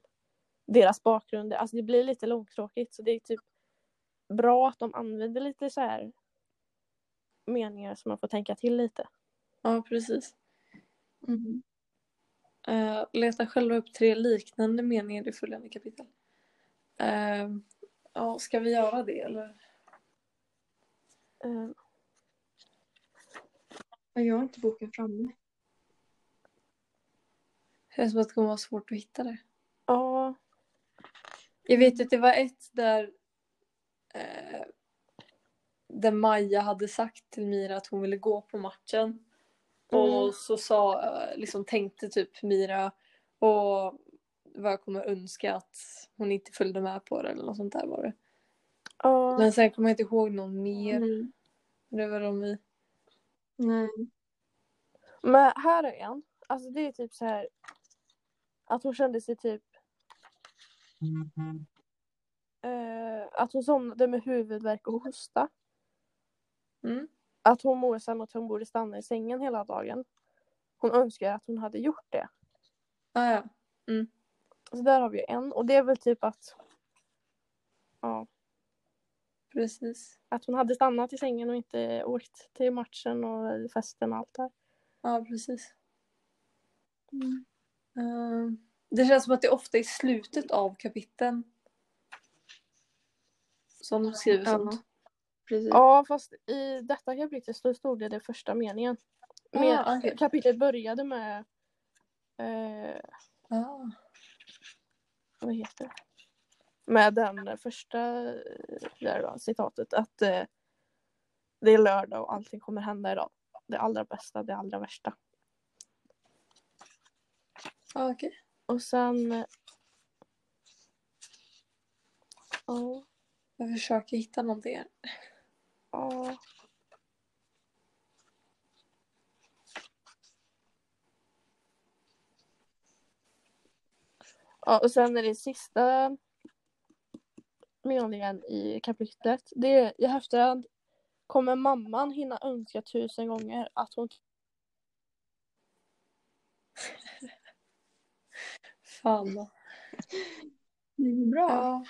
Speaker 2: deras bakgrund. Alltså det blir lite långtråkigt så det är typ bra att de använder lite så här meningar som man får tänka till lite.
Speaker 1: ja precis.
Speaker 3: Mm.
Speaker 1: Mm-hmm. Eh, leta själva upp tre liknande meningar i följande kapitel. Eh, ja, ska vi göra det eller?
Speaker 2: Eh,
Speaker 3: Ja, Jag har inte boken framme.
Speaker 1: Känns som att det kommer vara svårt att hitta det.
Speaker 2: Ja,
Speaker 1: Jag vet att det var ett där eh, där Maja hade sagt till Mira att hon ville gå på matchen.
Speaker 2: Mm.
Speaker 1: Och så sa, eh, liksom tänkte typ Mira och vad jag kommer önska att hon inte följde med på det eller något sånt där var det.
Speaker 2: ja,
Speaker 1: Men sen kommer jag inte ihåg någon mer.
Speaker 3: Mm.
Speaker 1: Det var de vi...
Speaker 3: Nej.
Speaker 2: men här är en. Alltså det är typ så här att hon kände sig typ eh, att hon somnade med huvudvärk och hosta.
Speaker 1: Mm.
Speaker 2: Att hon mår som att hon borde stanna i sängen hela dagen. Hon önskar att hon hade gjort det.
Speaker 1: Ah, ja.
Speaker 2: Så där har vi ju en. Och det är väl typ att, ja,
Speaker 1: precis.
Speaker 2: att hon hade stannat i sängen och inte åkt till matchen och festen och allt där.
Speaker 1: Ja, precis. Eh, det känns som att det är ofta i slutet av kapiteln som de skriver
Speaker 3: Ja.
Speaker 1: sånt. typ.
Speaker 3: Precis.
Speaker 2: Ja, fast i detta kapitlet så stod det det första meningen. Med,
Speaker 1: Ah, okej.
Speaker 2: Kapitlet började med, eh,
Speaker 1: Ah.
Speaker 2: vad heter det? Med den första eh, där då, citatet att eh, det är lördag och allting kommer hända idag. Det allra bästa, det allra värsta.
Speaker 1: Ja, okej.
Speaker 2: Och sen... eh, Ja.
Speaker 1: Jag försöker hitta någonting här.
Speaker 2: ja. Ja, och sen är det sista meningen i kapitlet. Det är i efterhand kommer mamman hinna önska tusen gånger att hon...
Speaker 1: Fan då.
Speaker 3: Det går bra.
Speaker 1: Ja.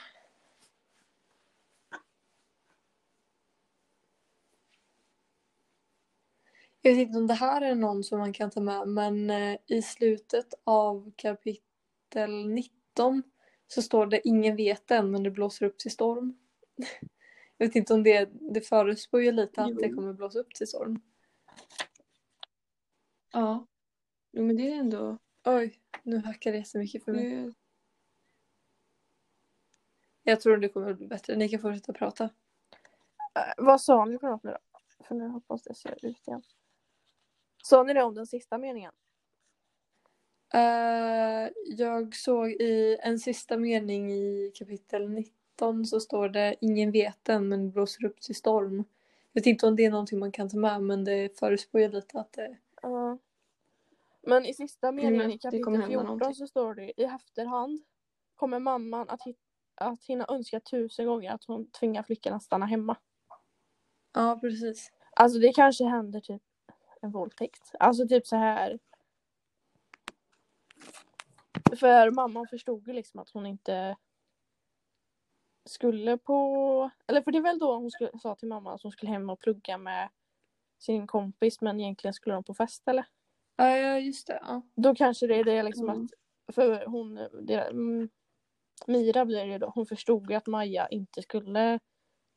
Speaker 1: Jag vet inte om det här är någon som man kan ta med men eh, i slutet av kapitel 19 så står det ingen vet än men det blåser upp till storm. Jag vet inte om det, det förutspår ju lite att
Speaker 3: Jo.
Speaker 1: det kommer blåsa upp till storm.
Speaker 3: Ja. Jo, men det är ändå...
Speaker 1: Oj, nu hackar det jättemycket för mig.
Speaker 3: Det,
Speaker 1: Jag tror det kommer bli bättre. Ni kan fortsätta prata.
Speaker 2: Äh, vad sa ni för något nu då? För nu hoppas jag ser ut igen. Sa ni det om den sista meningen?
Speaker 1: Eh, jag såg i en sista mening i kapitel 19 så står det ingen vet än men blåser upp till storm. Jag vet inte om det är någonting man kan ta med men det förutspår ju lite att det...
Speaker 2: Ja. Men i sista meningen
Speaker 3: men
Speaker 2: i
Speaker 3: det kommer
Speaker 2: kapitel
Speaker 3: hända
Speaker 2: 14
Speaker 3: någonting.
Speaker 2: så står det i efterhand kommer mamman att, hit- att hinna önska tusen gånger att hon tvingar flickan att stanna hemma.
Speaker 1: Ja precis.
Speaker 2: Alltså det kanske händer typ en våldtäkt. Alltså typ så här. För mamman förstod ju liksom att hon inte skulle på... Eller för det är väl då hon skulle, sa till mamma att hon skulle hem och plugga med sin kompis men egentligen skulle de på fest eller?
Speaker 1: Ja, ja just det. Ja.
Speaker 2: Då kanske det är det liksom
Speaker 3: Mm.
Speaker 2: att... För hon... Det, mm, Mira blir det ju då. Hon förstod ju att Maja inte skulle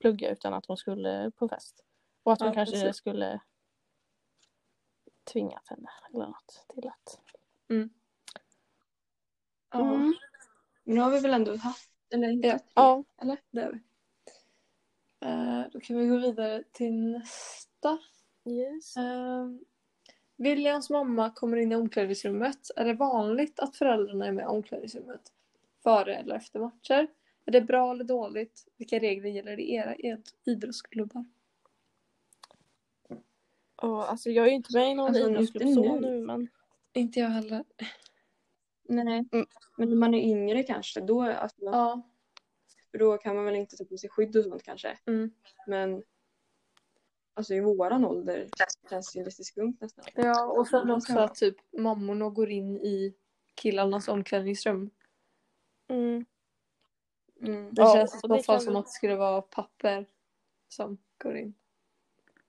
Speaker 2: plugga utan att hon skulle på fest. Och att hon
Speaker 1: Ja,
Speaker 2: kanske
Speaker 1: precis.
Speaker 2: skulle tvingat henne eller något till att...
Speaker 3: Ja. Men nu har vi väl ändå haft, eller hittat
Speaker 1: Mm. Ja.
Speaker 3: tre.
Speaker 2: Ja.
Speaker 1: Det är vi. Eh, Då kan vi gå vidare till nästa.
Speaker 2: Yes.
Speaker 1: Eh, Williams mamma kommer in i omklädningsrummet. Är det vanligt att föräldrarna är med i omklädningsrummet? Före eller efter matcher? Är det bra eller dåligt? Vilka regler gäller i era ed- idrottsklubbar?
Speaker 2: Och, alltså jag är ju inte med i någon
Speaker 3: Alltså, inte
Speaker 2: idrottsklubb så
Speaker 3: nu.
Speaker 2: nu men...
Speaker 1: Inte jag heller.
Speaker 3: Nej.
Speaker 2: Mm.
Speaker 3: Men när man är yngre kanske, då, alltså,
Speaker 1: Ja.
Speaker 3: för då kan man väl inte ta på sig skydd och sånt kanske.
Speaker 1: Mm.
Speaker 3: Men alltså i våran ålder känns det ju lite skumt nästan.
Speaker 1: Ja, och sen
Speaker 3: Ja,
Speaker 1: också
Speaker 3: så.
Speaker 1: att typ mammorna går in i killarnas omklädningsrum.
Speaker 2: Mm.
Speaker 3: Mm.
Speaker 1: Det
Speaker 2: Ja,
Speaker 1: känns i
Speaker 2: och det
Speaker 1: så fall
Speaker 2: kan-
Speaker 1: som att det skulle vara papper som går in.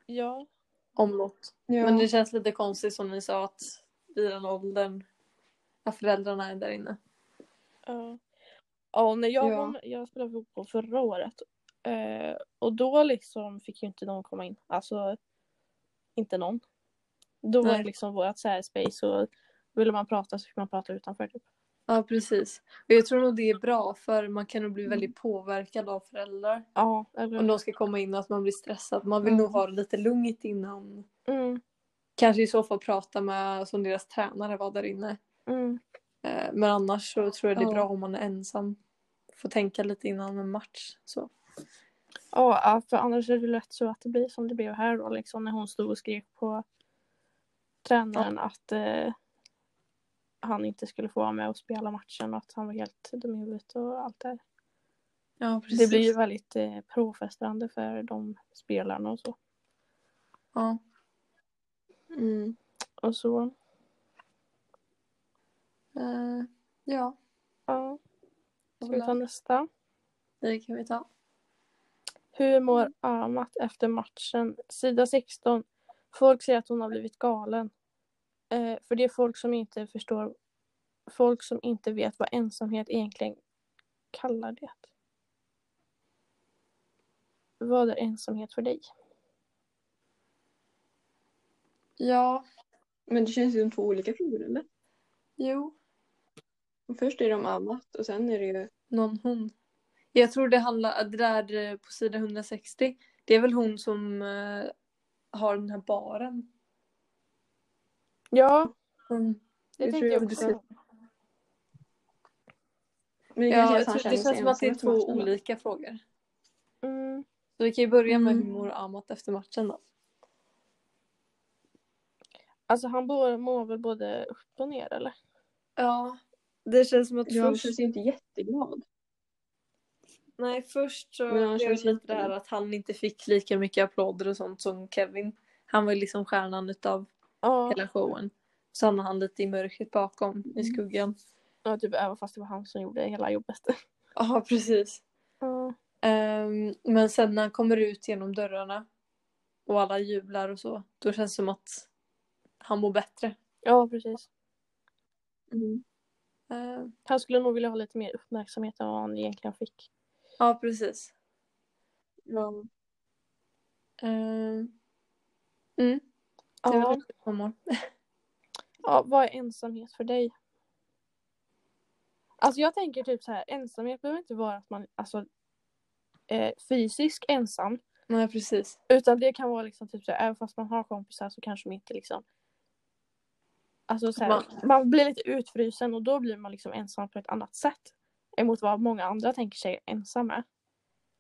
Speaker 2: Ja.
Speaker 1: Om något.
Speaker 3: Ja.
Speaker 1: Men det känns lite konstigt som ni sa att vid den åldern när föräldrarna är där inne.
Speaker 2: Ja. Ja, när jag,
Speaker 3: Ja.
Speaker 2: var med, jag spelade fotboll förra året eh, och då liksom fick ju inte någon komma in. Alltså inte någon. Då var
Speaker 1: Nej.
Speaker 2: det liksom vårt så här space och ville man prata så fick man prata utanför. Typ.
Speaker 1: Ja, precis. Och jag tror nog det är bra för man kan nog bli
Speaker 2: Mm.
Speaker 1: väldigt påverkad av föräldrar.
Speaker 2: Ja, eller
Speaker 1: Om de ska komma in och att man blir stressad. Man vill
Speaker 2: Mm.
Speaker 1: nog ha det lite lugnt innan.
Speaker 2: mm,
Speaker 1: Kanske i så fall prata med som deras tränare var där inne.
Speaker 2: mm,
Speaker 1: Eh, Men annars så tror jag det är
Speaker 3: Ja.
Speaker 1: bra om man är ensam. Får tänka lite innan en match. Så.
Speaker 2: Ja, ja, för annars är det lätt så att det blir som det blev här då liksom när hon stod och skrek på tränaren att eh, han inte skulle få vara med och spela matchen och att han var helt dum i huvudet och allt det här.
Speaker 1: Ja,
Speaker 2: Det blir ju väldigt eh, påfrestande för de spelarna och så.
Speaker 1: Ja.
Speaker 3: Mm.
Speaker 2: Och så,
Speaker 1: Eh, ja,
Speaker 2: ja. Ska vi ta
Speaker 1: Ola,
Speaker 2: nästa?
Speaker 1: det kan vi ta.
Speaker 2: Hur mår Amat efter matchen? Sida 16. Folk säger att hon har blivit galen. Eh, för det är folk som inte förstår. Folk som inte vet vad ensamhet egentligen kallar det. Vad är ensamhet för dig?
Speaker 1: Ja,
Speaker 3: Men det känns ju som två olika frågor eller?
Speaker 1: jo,
Speaker 3: Först är det om annat och sen är det ju...
Speaker 1: någon hon. Jag tror det handlar, det där eh, på sida 160, det är väl hon som eh, har den här baren.
Speaker 2: Ja,
Speaker 1: Mm.
Speaker 2: det,
Speaker 3: Det
Speaker 2: tänker
Speaker 3: tror
Speaker 2: jag
Speaker 3: jag
Speaker 2: också.
Speaker 3: precis. Men det
Speaker 1: Ja,
Speaker 3: kanske är
Speaker 1: jag
Speaker 3: så han
Speaker 1: tror,
Speaker 3: känner
Speaker 1: det
Speaker 3: sig
Speaker 1: känns som att det
Speaker 3: ensam
Speaker 1: är
Speaker 3: efter
Speaker 1: två
Speaker 3: matchen då.
Speaker 1: olika frågor.
Speaker 2: Mm,
Speaker 1: Så vi kan ju börja med
Speaker 3: Mm.
Speaker 1: hur mår Amat efter matchen då.
Speaker 2: alltså han bor- mår väl både upp och ner eller?
Speaker 1: Ja, det känns som att
Speaker 3: Ja, han
Speaker 1: först
Speaker 3: känns ju inte jätteglad.
Speaker 1: Nej, först så
Speaker 3: Men han
Speaker 1: blev det
Speaker 3: känns
Speaker 1: lite
Speaker 3: inte
Speaker 1: det här
Speaker 3: det.
Speaker 1: att han inte fick lika mycket applåder och sånt som Kevin. Han var ju liksom stjärnan utav
Speaker 2: Ja,
Speaker 1: hela showen. Så hamnade han lite i mörkret bakom, i skuggan.
Speaker 2: ja typ även fast det var han som gjorde hela jobbet.
Speaker 1: Ja, precis.
Speaker 2: Ja.
Speaker 1: Ehm, men sen när han kommer ut genom dörrarna och alla jublar och så, då känns det som att han mår bättre.
Speaker 2: Ja, precis.
Speaker 3: Mm.
Speaker 1: Ehm,
Speaker 2: Han skulle nog vilja ha lite mer uppmärksamhet än vad han egentligen fick.
Speaker 1: ja, precis.
Speaker 3: Ja.
Speaker 1: Ehm, mm, det är
Speaker 2: Ja.
Speaker 1: väl det han mår.
Speaker 2: ja, vad är ensamhet för dig? Alltså jag tänker typ så här, ensamhet behöver inte vara att man alltså eh, fysisk ensam.
Speaker 1: Nej, precis.
Speaker 2: Utan det kan vara liksom typ så här, även fast man har kompisar så kanske man inte liksom Alltså så här, man...
Speaker 1: Man-
Speaker 2: blir lite utfrysen och då blir man liksom ensam på ett annat sätt. Emot vad många andra tänker sig ensam är.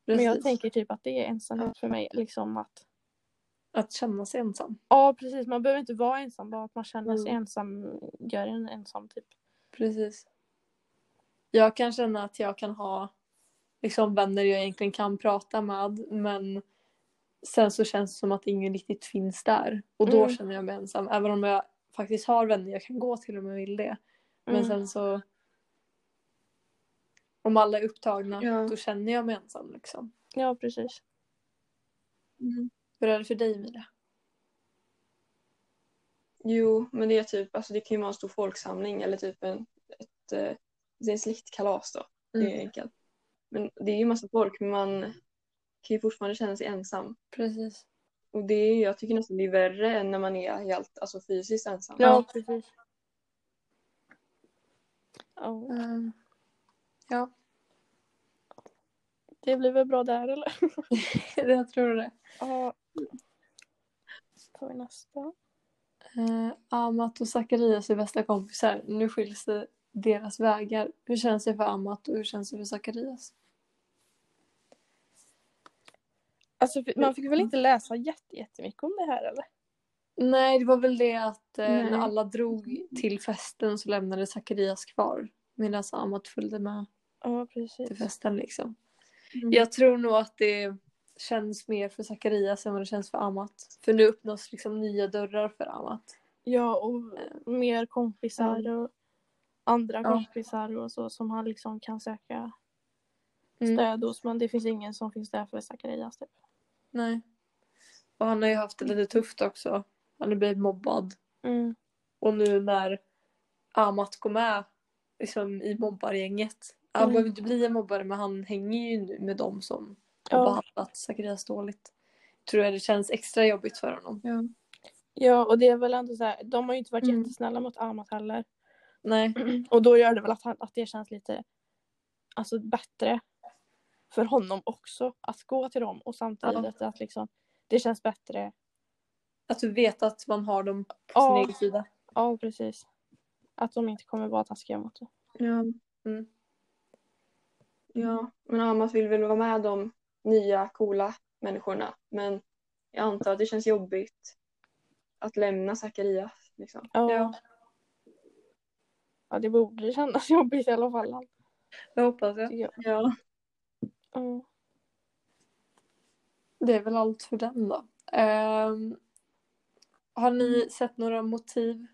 Speaker 2: Men jag
Speaker 1: Precis.
Speaker 2: tänker typ att det är ensamhet för mig. Liksom att
Speaker 1: Att känna sig ensam.
Speaker 2: Ja, precis. Man behöver inte vara ensam. Bara att man känner sig
Speaker 1: Mm.
Speaker 2: ensam gör en ensam typ.
Speaker 1: Precis. Jag kan känna att jag kan ha liksom vänner jag egentligen kan prata med men sen så känns det som att ingen riktigt finns där och då
Speaker 2: Mm.
Speaker 1: känner jag mig ensam även om jag faktiskt har vänner jag kan gå till om jag vill det. Men
Speaker 2: Mm.
Speaker 1: sen så om alla är upptagna
Speaker 3: Ja.
Speaker 1: då känner jag mig ensam liksom.
Speaker 2: Ja, precis.
Speaker 3: Mm.
Speaker 1: Hur är det för dig Mira?
Speaker 3: Jo, men det är typ, alltså det kan ju vara en stor folksamling eller typ en, ett, eh, det är en släktkalas då.
Speaker 1: Mm.
Speaker 3: Det är enkelt. Men det är ju massa folk men man kan ju fortfarande känna sig ensam.
Speaker 1: Precis.
Speaker 3: Och det är, jag tycker nästan det är värre än när man är helt alltså, fysiskt ensam.
Speaker 2: Ja,
Speaker 1: Ja.
Speaker 2: precis. Ja,
Speaker 1: Mm. Ja,
Speaker 2: det blir väl bra där eller?
Speaker 1: jag tror det.
Speaker 2: Ja. tar vi nästa.
Speaker 1: Eh, Amat och Zacharias är bästa kompisar. Nu skiljs det deras vägar. Hur känns det för Amat och hur känns det för Zacharias?
Speaker 2: Alltså, fi- man fick väl inte läsa jätte- jättemycket om det här eller?
Speaker 1: Nej, det var väl det att eh,
Speaker 3: Nej.
Speaker 1: när alla drog till festen så lämnade Zacharias kvar. Medan Amat följde med
Speaker 2: Ja,
Speaker 1: till
Speaker 2: precis.
Speaker 1: festen liksom.
Speaker 3: Mm.
Speaker 1: Jag tror nog att det känns mer för Zacharias än vad det känns för Amat. För nu öppnas liksom nya dörrar för Amat.
Speaker 2: Ja, och mer kompisar och andra
Speaker 1: Eh. Ja.
Speaker 2: kompisar och så som han liksom kan söka
Speaker 1: Mm.
Speaker 2: stöd hos. Men det finns ingen som finns där för Zacharias typ.
Speaker 1: Nej. Och han har ju haft det lite tufft också. Han har blivit mobbad.
Speaker 2: Mm.
Speaker 1: Och nu när Amat går med liksom, i mobbargänget. Han
Speaker 2: Mm.
Speaker 1: behöver inte bli en mobbare men han hänger ju nu med dem som har
Speaker 2: Ja.
Speaker 1: behandlat Zacharias dåligt. Tror jag det känns extra jobbigt för honom.
Speaker 2: ja, och det är väl ändå så här. De har ju inte varit
Speaker 1: Mm.
Speaker 2: jättesnälla mot Amat heller.
Speaker 1: Nej,
Speaker 2: Och då gör det väl att, han, att det känns lite alltså, bättre för honom också att gå till dem och samtidigt att liksom, det känns bättre.
Speaker 1: att du vet att man har dem på sin
Speaker 2: Ja.
Speaker 1: egen sida.
Speaker 2: Ja, precis. Att de inte kommer vara taskiga mot det.
Speaker 3: Ja.
Speaker 1: Mm.
Speaker 3: ja, men Amat vill väl vara med de nya coola människorna. Men jag antar att det känns jobbigt att lämna Zacharias. Liksom.
Speaker 2: Ja.
Speaker 1: Ja.
Speaker 2: Ja. det borde kännas jobbigt i alla fall.
Speaker 1: Jag hoppas det.
Speaker 2: tycker jag.
Speaker 3: Ja.
Speaker 1: Mm.
Speaker 2: Ja.
Speaker 1: Det är väl allt för den då. Ehm, har
Speaker 2: Mm.
Speaker 1: ni sett några motiv?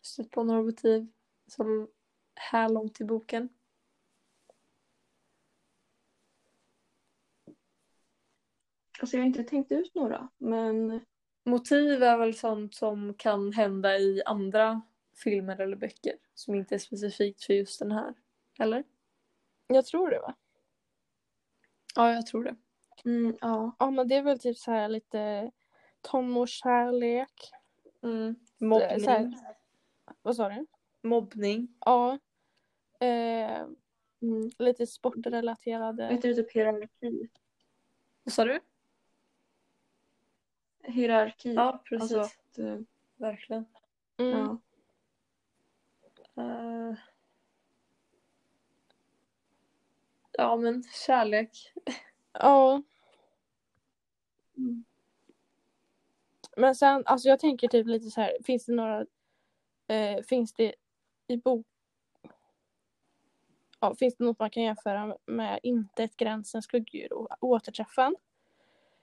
Speaker 1: Stött på några motiv? Som här långt i boken?
Speaker 3: Alltså jag har inte tänkt ut några, men
Speaker 1: Motiv är väl sånt som kan hända i andra filmer eller böcker som inte är specifikt för just den här. Eller?
Speaker 2: Jag tror det va?
Speaker 1: Ja, jag tror det.
Speaker 3: mm, ja.
Speaker 2: Ja men det är väl typ så här lite tonårskärlek.
Speaker 1: Mm.
Speaker 2: Så här-
Speaker 1: Mobbning.
Speaker 2: Vad sa du?
Speaker 1: Mobbning.
Speaker 2: Ja. Eh,
Speaker 3: Mm.
Speaker 2: lite sportrelaterade.
Speaker 3: Heter det typ hierarki?
Speaker 1: Vad sa du?
Speaker 3: Hierarki.
Speaker 1: Ja, precis.
Speaker 3: alltså att, eh,
Speaker 1: Verkligen.
Speaker 2: Mm.
Speaker 3: ja.
Speaker 1: Eh. Ja, men kärlek.
Speaker 2: Ja.
Speaker 3: Mm.
Speaker 2: Men sen, alltså jag tänker typ lite så här, finns det några, eh, finns det i bok, ja, finns det något man kan jämföra med intet, gränsen, skuggdjur och återträffen?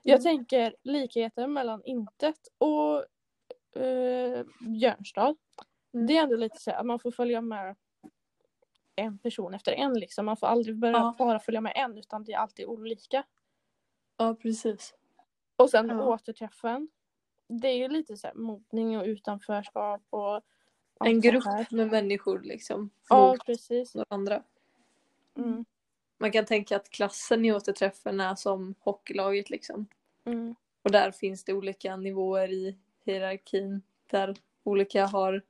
Speaker 2: Jag
Speaker 1: Mm.
Speaker 2: tänker likheter mellan intet och eh, Björnstad.
Speaker 1: Mm.
Speaker 2: Det är ändå lite så här, att man får följa med en person efter en liksom. Man får aldrig börja,
Speaker 1: Ja.
Speaker 2: bara följa med en utan det är alltid olika.
Speaker 1: Ja, precis.
Speaker 2: Och sen
Speaker 3: Ja.
Speaker 2: återträffen. Det är ju lite så här mobbning och utanförskap och allt
Speaker 1: En
Speaker 2: sånt
Speaker 1: grupp
Speaker 2: här.
Speaker 1: med människor liksom.
Speaker 2: Ja,
Speaker 1: Mot
Speaker 2: precis.
Speaker 1: varandra.
Speaker 2: Mm.
Speaker 1: Man kan tänka att klassen i återträffen är som hockeylaget liksom.
Speaker 2: Mm.
Speaker 1: Och där finns det olika nivåer i hierarkin där olika har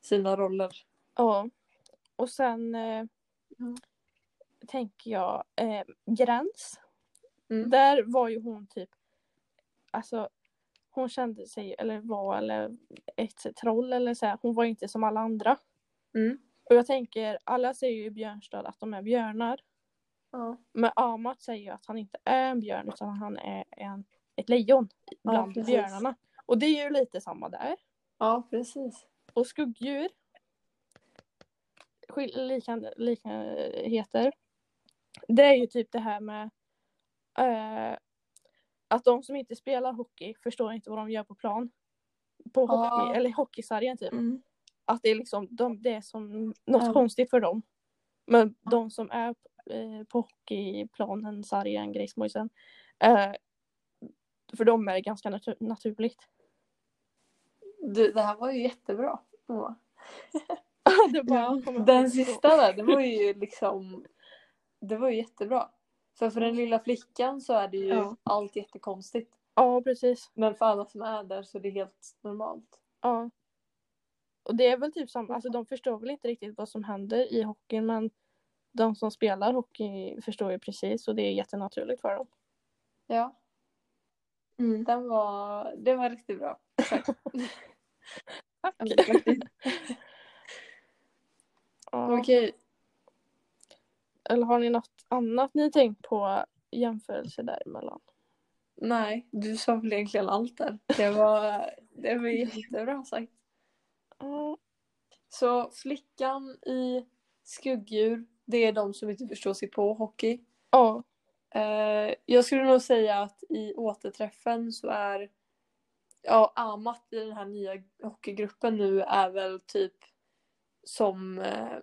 Speaker 1: sina roller.
Speaker 2: Ja. Och sen eh,
Speaker 3: Ja.
Speaker 2: tänker jag eh, Gräns.
Speaker 1: Mm.
Speaker 2: Där var ju hon typ, alltså hon kände sig eller var eller ett troll eller så här. Hon var inte som alla andra.
Speaker 1: Mm.
Speaker 2: Och jag tänker, alla säger ju i Björnstad att de är björnar.
Speaker 1: Ja.
Speaker 2: Men Amat säger ju att han inte är en björn utan han är en ett lejon bland
Speaker 1: precis.
Speaker 2: björnarna. Och det är ju lite samma där.
Speaker 1: Ja, precis.
Speaker 2: Och skuggdjur. Skill- Likan, likheter. Det är ju typ det här med eh, att de som inte spelar hockey förstår inte vad de gör på plan. På hockey,
Speaker 1: Ja.
Speaker 2: eller hockeysargen typ.
Speaker 3: Mm.
Speaker 2: Att det är liksom de, det är som något
Speaker 1: Ja.
Speaker 2: konstigt för dem. Men de som är eh, på hockeyplanen, sargen, grismojsen. Eh, för dem är det ganska natur- naturligt.
Speaker 1: Du, det här var ju jättebra. Moa.
Speaker 2: det bara
Speaker 3: Ja.
Speaker 2: kommer
Speaker 1: Den
Speaker 2: upp så.
Speaker 1: sista där, det var ju liksom... Det var ju jättebra. För för den lilla flickan så är det ju
Speaker 3: Ja.
Speaker 1: allt jättekonstigt.
Speaker 2: Ja, precis.
Speaker 1: Men för alla som är där så är det helt normalt.
Speaker 2: Ja. Och det är väl typ samma, alltså de förstår väl inte riktigt vad som händer i hockeyn men de som spelar hockey förstår ju precis och det är jättenaturligt för dem.
Speaker 1: Ja,
Speaker 3: Mm.
Speaker 1: den var, den var riktigt bra.
Speaker 2: Tack!
Speaker 3: Ja, faktiskt.
Speaker 2: Ja.
Speaker 1: Okej,
Speaker 2: Eller har ni något annat ni tänkt på jämförelse däremellan?
Speaker 1: nej, du sa väl egentligen allt där. Det var, det var jättebra sagt.
Speaker 2: Ja,
Speaker 1: Så flickan i skuggdjur, det är de som inte förstår sig på hockey.
Speaker 2: ja,
Speaker 1: Eh, jag skulle nog säga att i återträffen så är ja, Amat i den här nya hockeygruppen nu är väl typ som eh,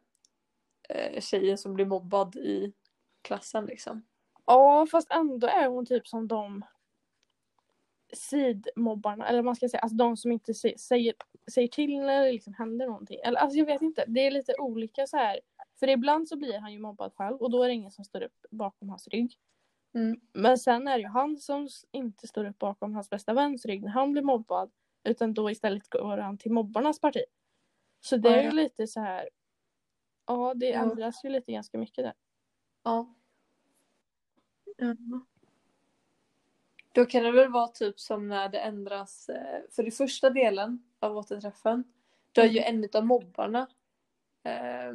Speaker 1: eh, tjejen som blir mobbad i klassen liksom.
Speaker 2: ja fast ändå är hon typ som de sidmobbarna, eller vad man ska säga, alltså de som inte se- säger, säger till när det liksom händer någonting. Eller alltså jag vet inte, det är lite olika så här. För ibland så blir han ju mobbad själv och då är det ingen som står upp bakom hans rygg.
Speaker 1: Mm.
Speaker 2: Men sen är det ju han som s- inte står upp bakom hans bästa väns rygg när han blir mobbad. Utan då istället går han till mobbarnas parti. Så det är ju
Speaker 1: Ja.
Speaker 2: lite så här. Ja, det
Speaker 1: Ja.
Speaker 2: ändras ju lite ganska mycket där.
Speaker 1: Ja.
Speaker 3: Ja.
Speaker 1: Då kan det väl vara typ som när det ändras, eh, för i första delen av återträffen, då är ju
Speaker 2: Mm.
Speaker 1: en av mobbarna eh,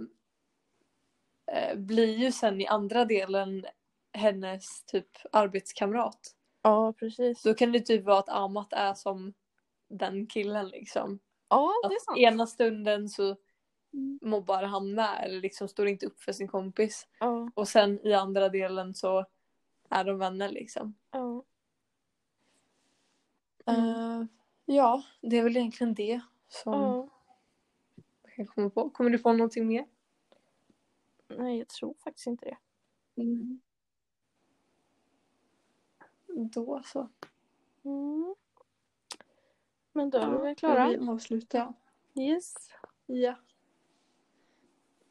Speaker 1: eh, blir ju sen i andra delen hennes typ arbetskamrat.
Speaker 2: Ja, precis.
Speaker 1: Då kan det typ vara att Amat är som den killen liksom.
Speaker 2: Ja, det är
Speaker 1: Att
Speaker 2: sant. Mm.
Speaker 1: ena stunden så mobbar han med eller liksom står inte upp för sin kompis.
Speaker 2: Ja,
Speaker 1: Och sen i andra delen så är de vänner liksom.
Speaker 2: ja.
Speaker 3: Mm.
Speaker 1: Eh, ja, det är väl egentligen det som
Speaker 2: ja.
Speaker 1: jag kan komma på. Kommer du på någonting mer?
Speaker 2: Nej, jag tror faktiskt inte det.
Speaker 3: Mm.
Speaker 1: Då så.
Speaker 2: Mm. Men då är vi väl
Speaker 3: Ska
Speaker 2: klara.
Speaker 3: Vi avsluta.
Speaker 1: Ja.
Speaker 2: Yes.
Speaker 1: Ja.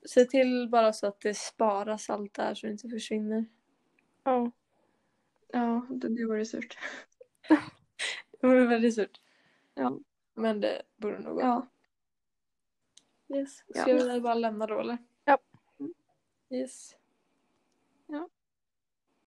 Speaker 1: Se till bara så att det sparas allt där så det inte försvinner.
Speaker 2: Ja.
Speaker 3: Ja, det, det vore surt.
Speaker 1: Det vore väldigt surt.
Speaker 3: Ja.
Speaker 1: Men det borde nog gå.
Speaker 3: Ja.
Speaker 1: Yes. Ska
Speaker 3: Ja.
Speaker 1: vi bara lämna då eller?
Speaker 2: Ja.
Speaker 1: Yes.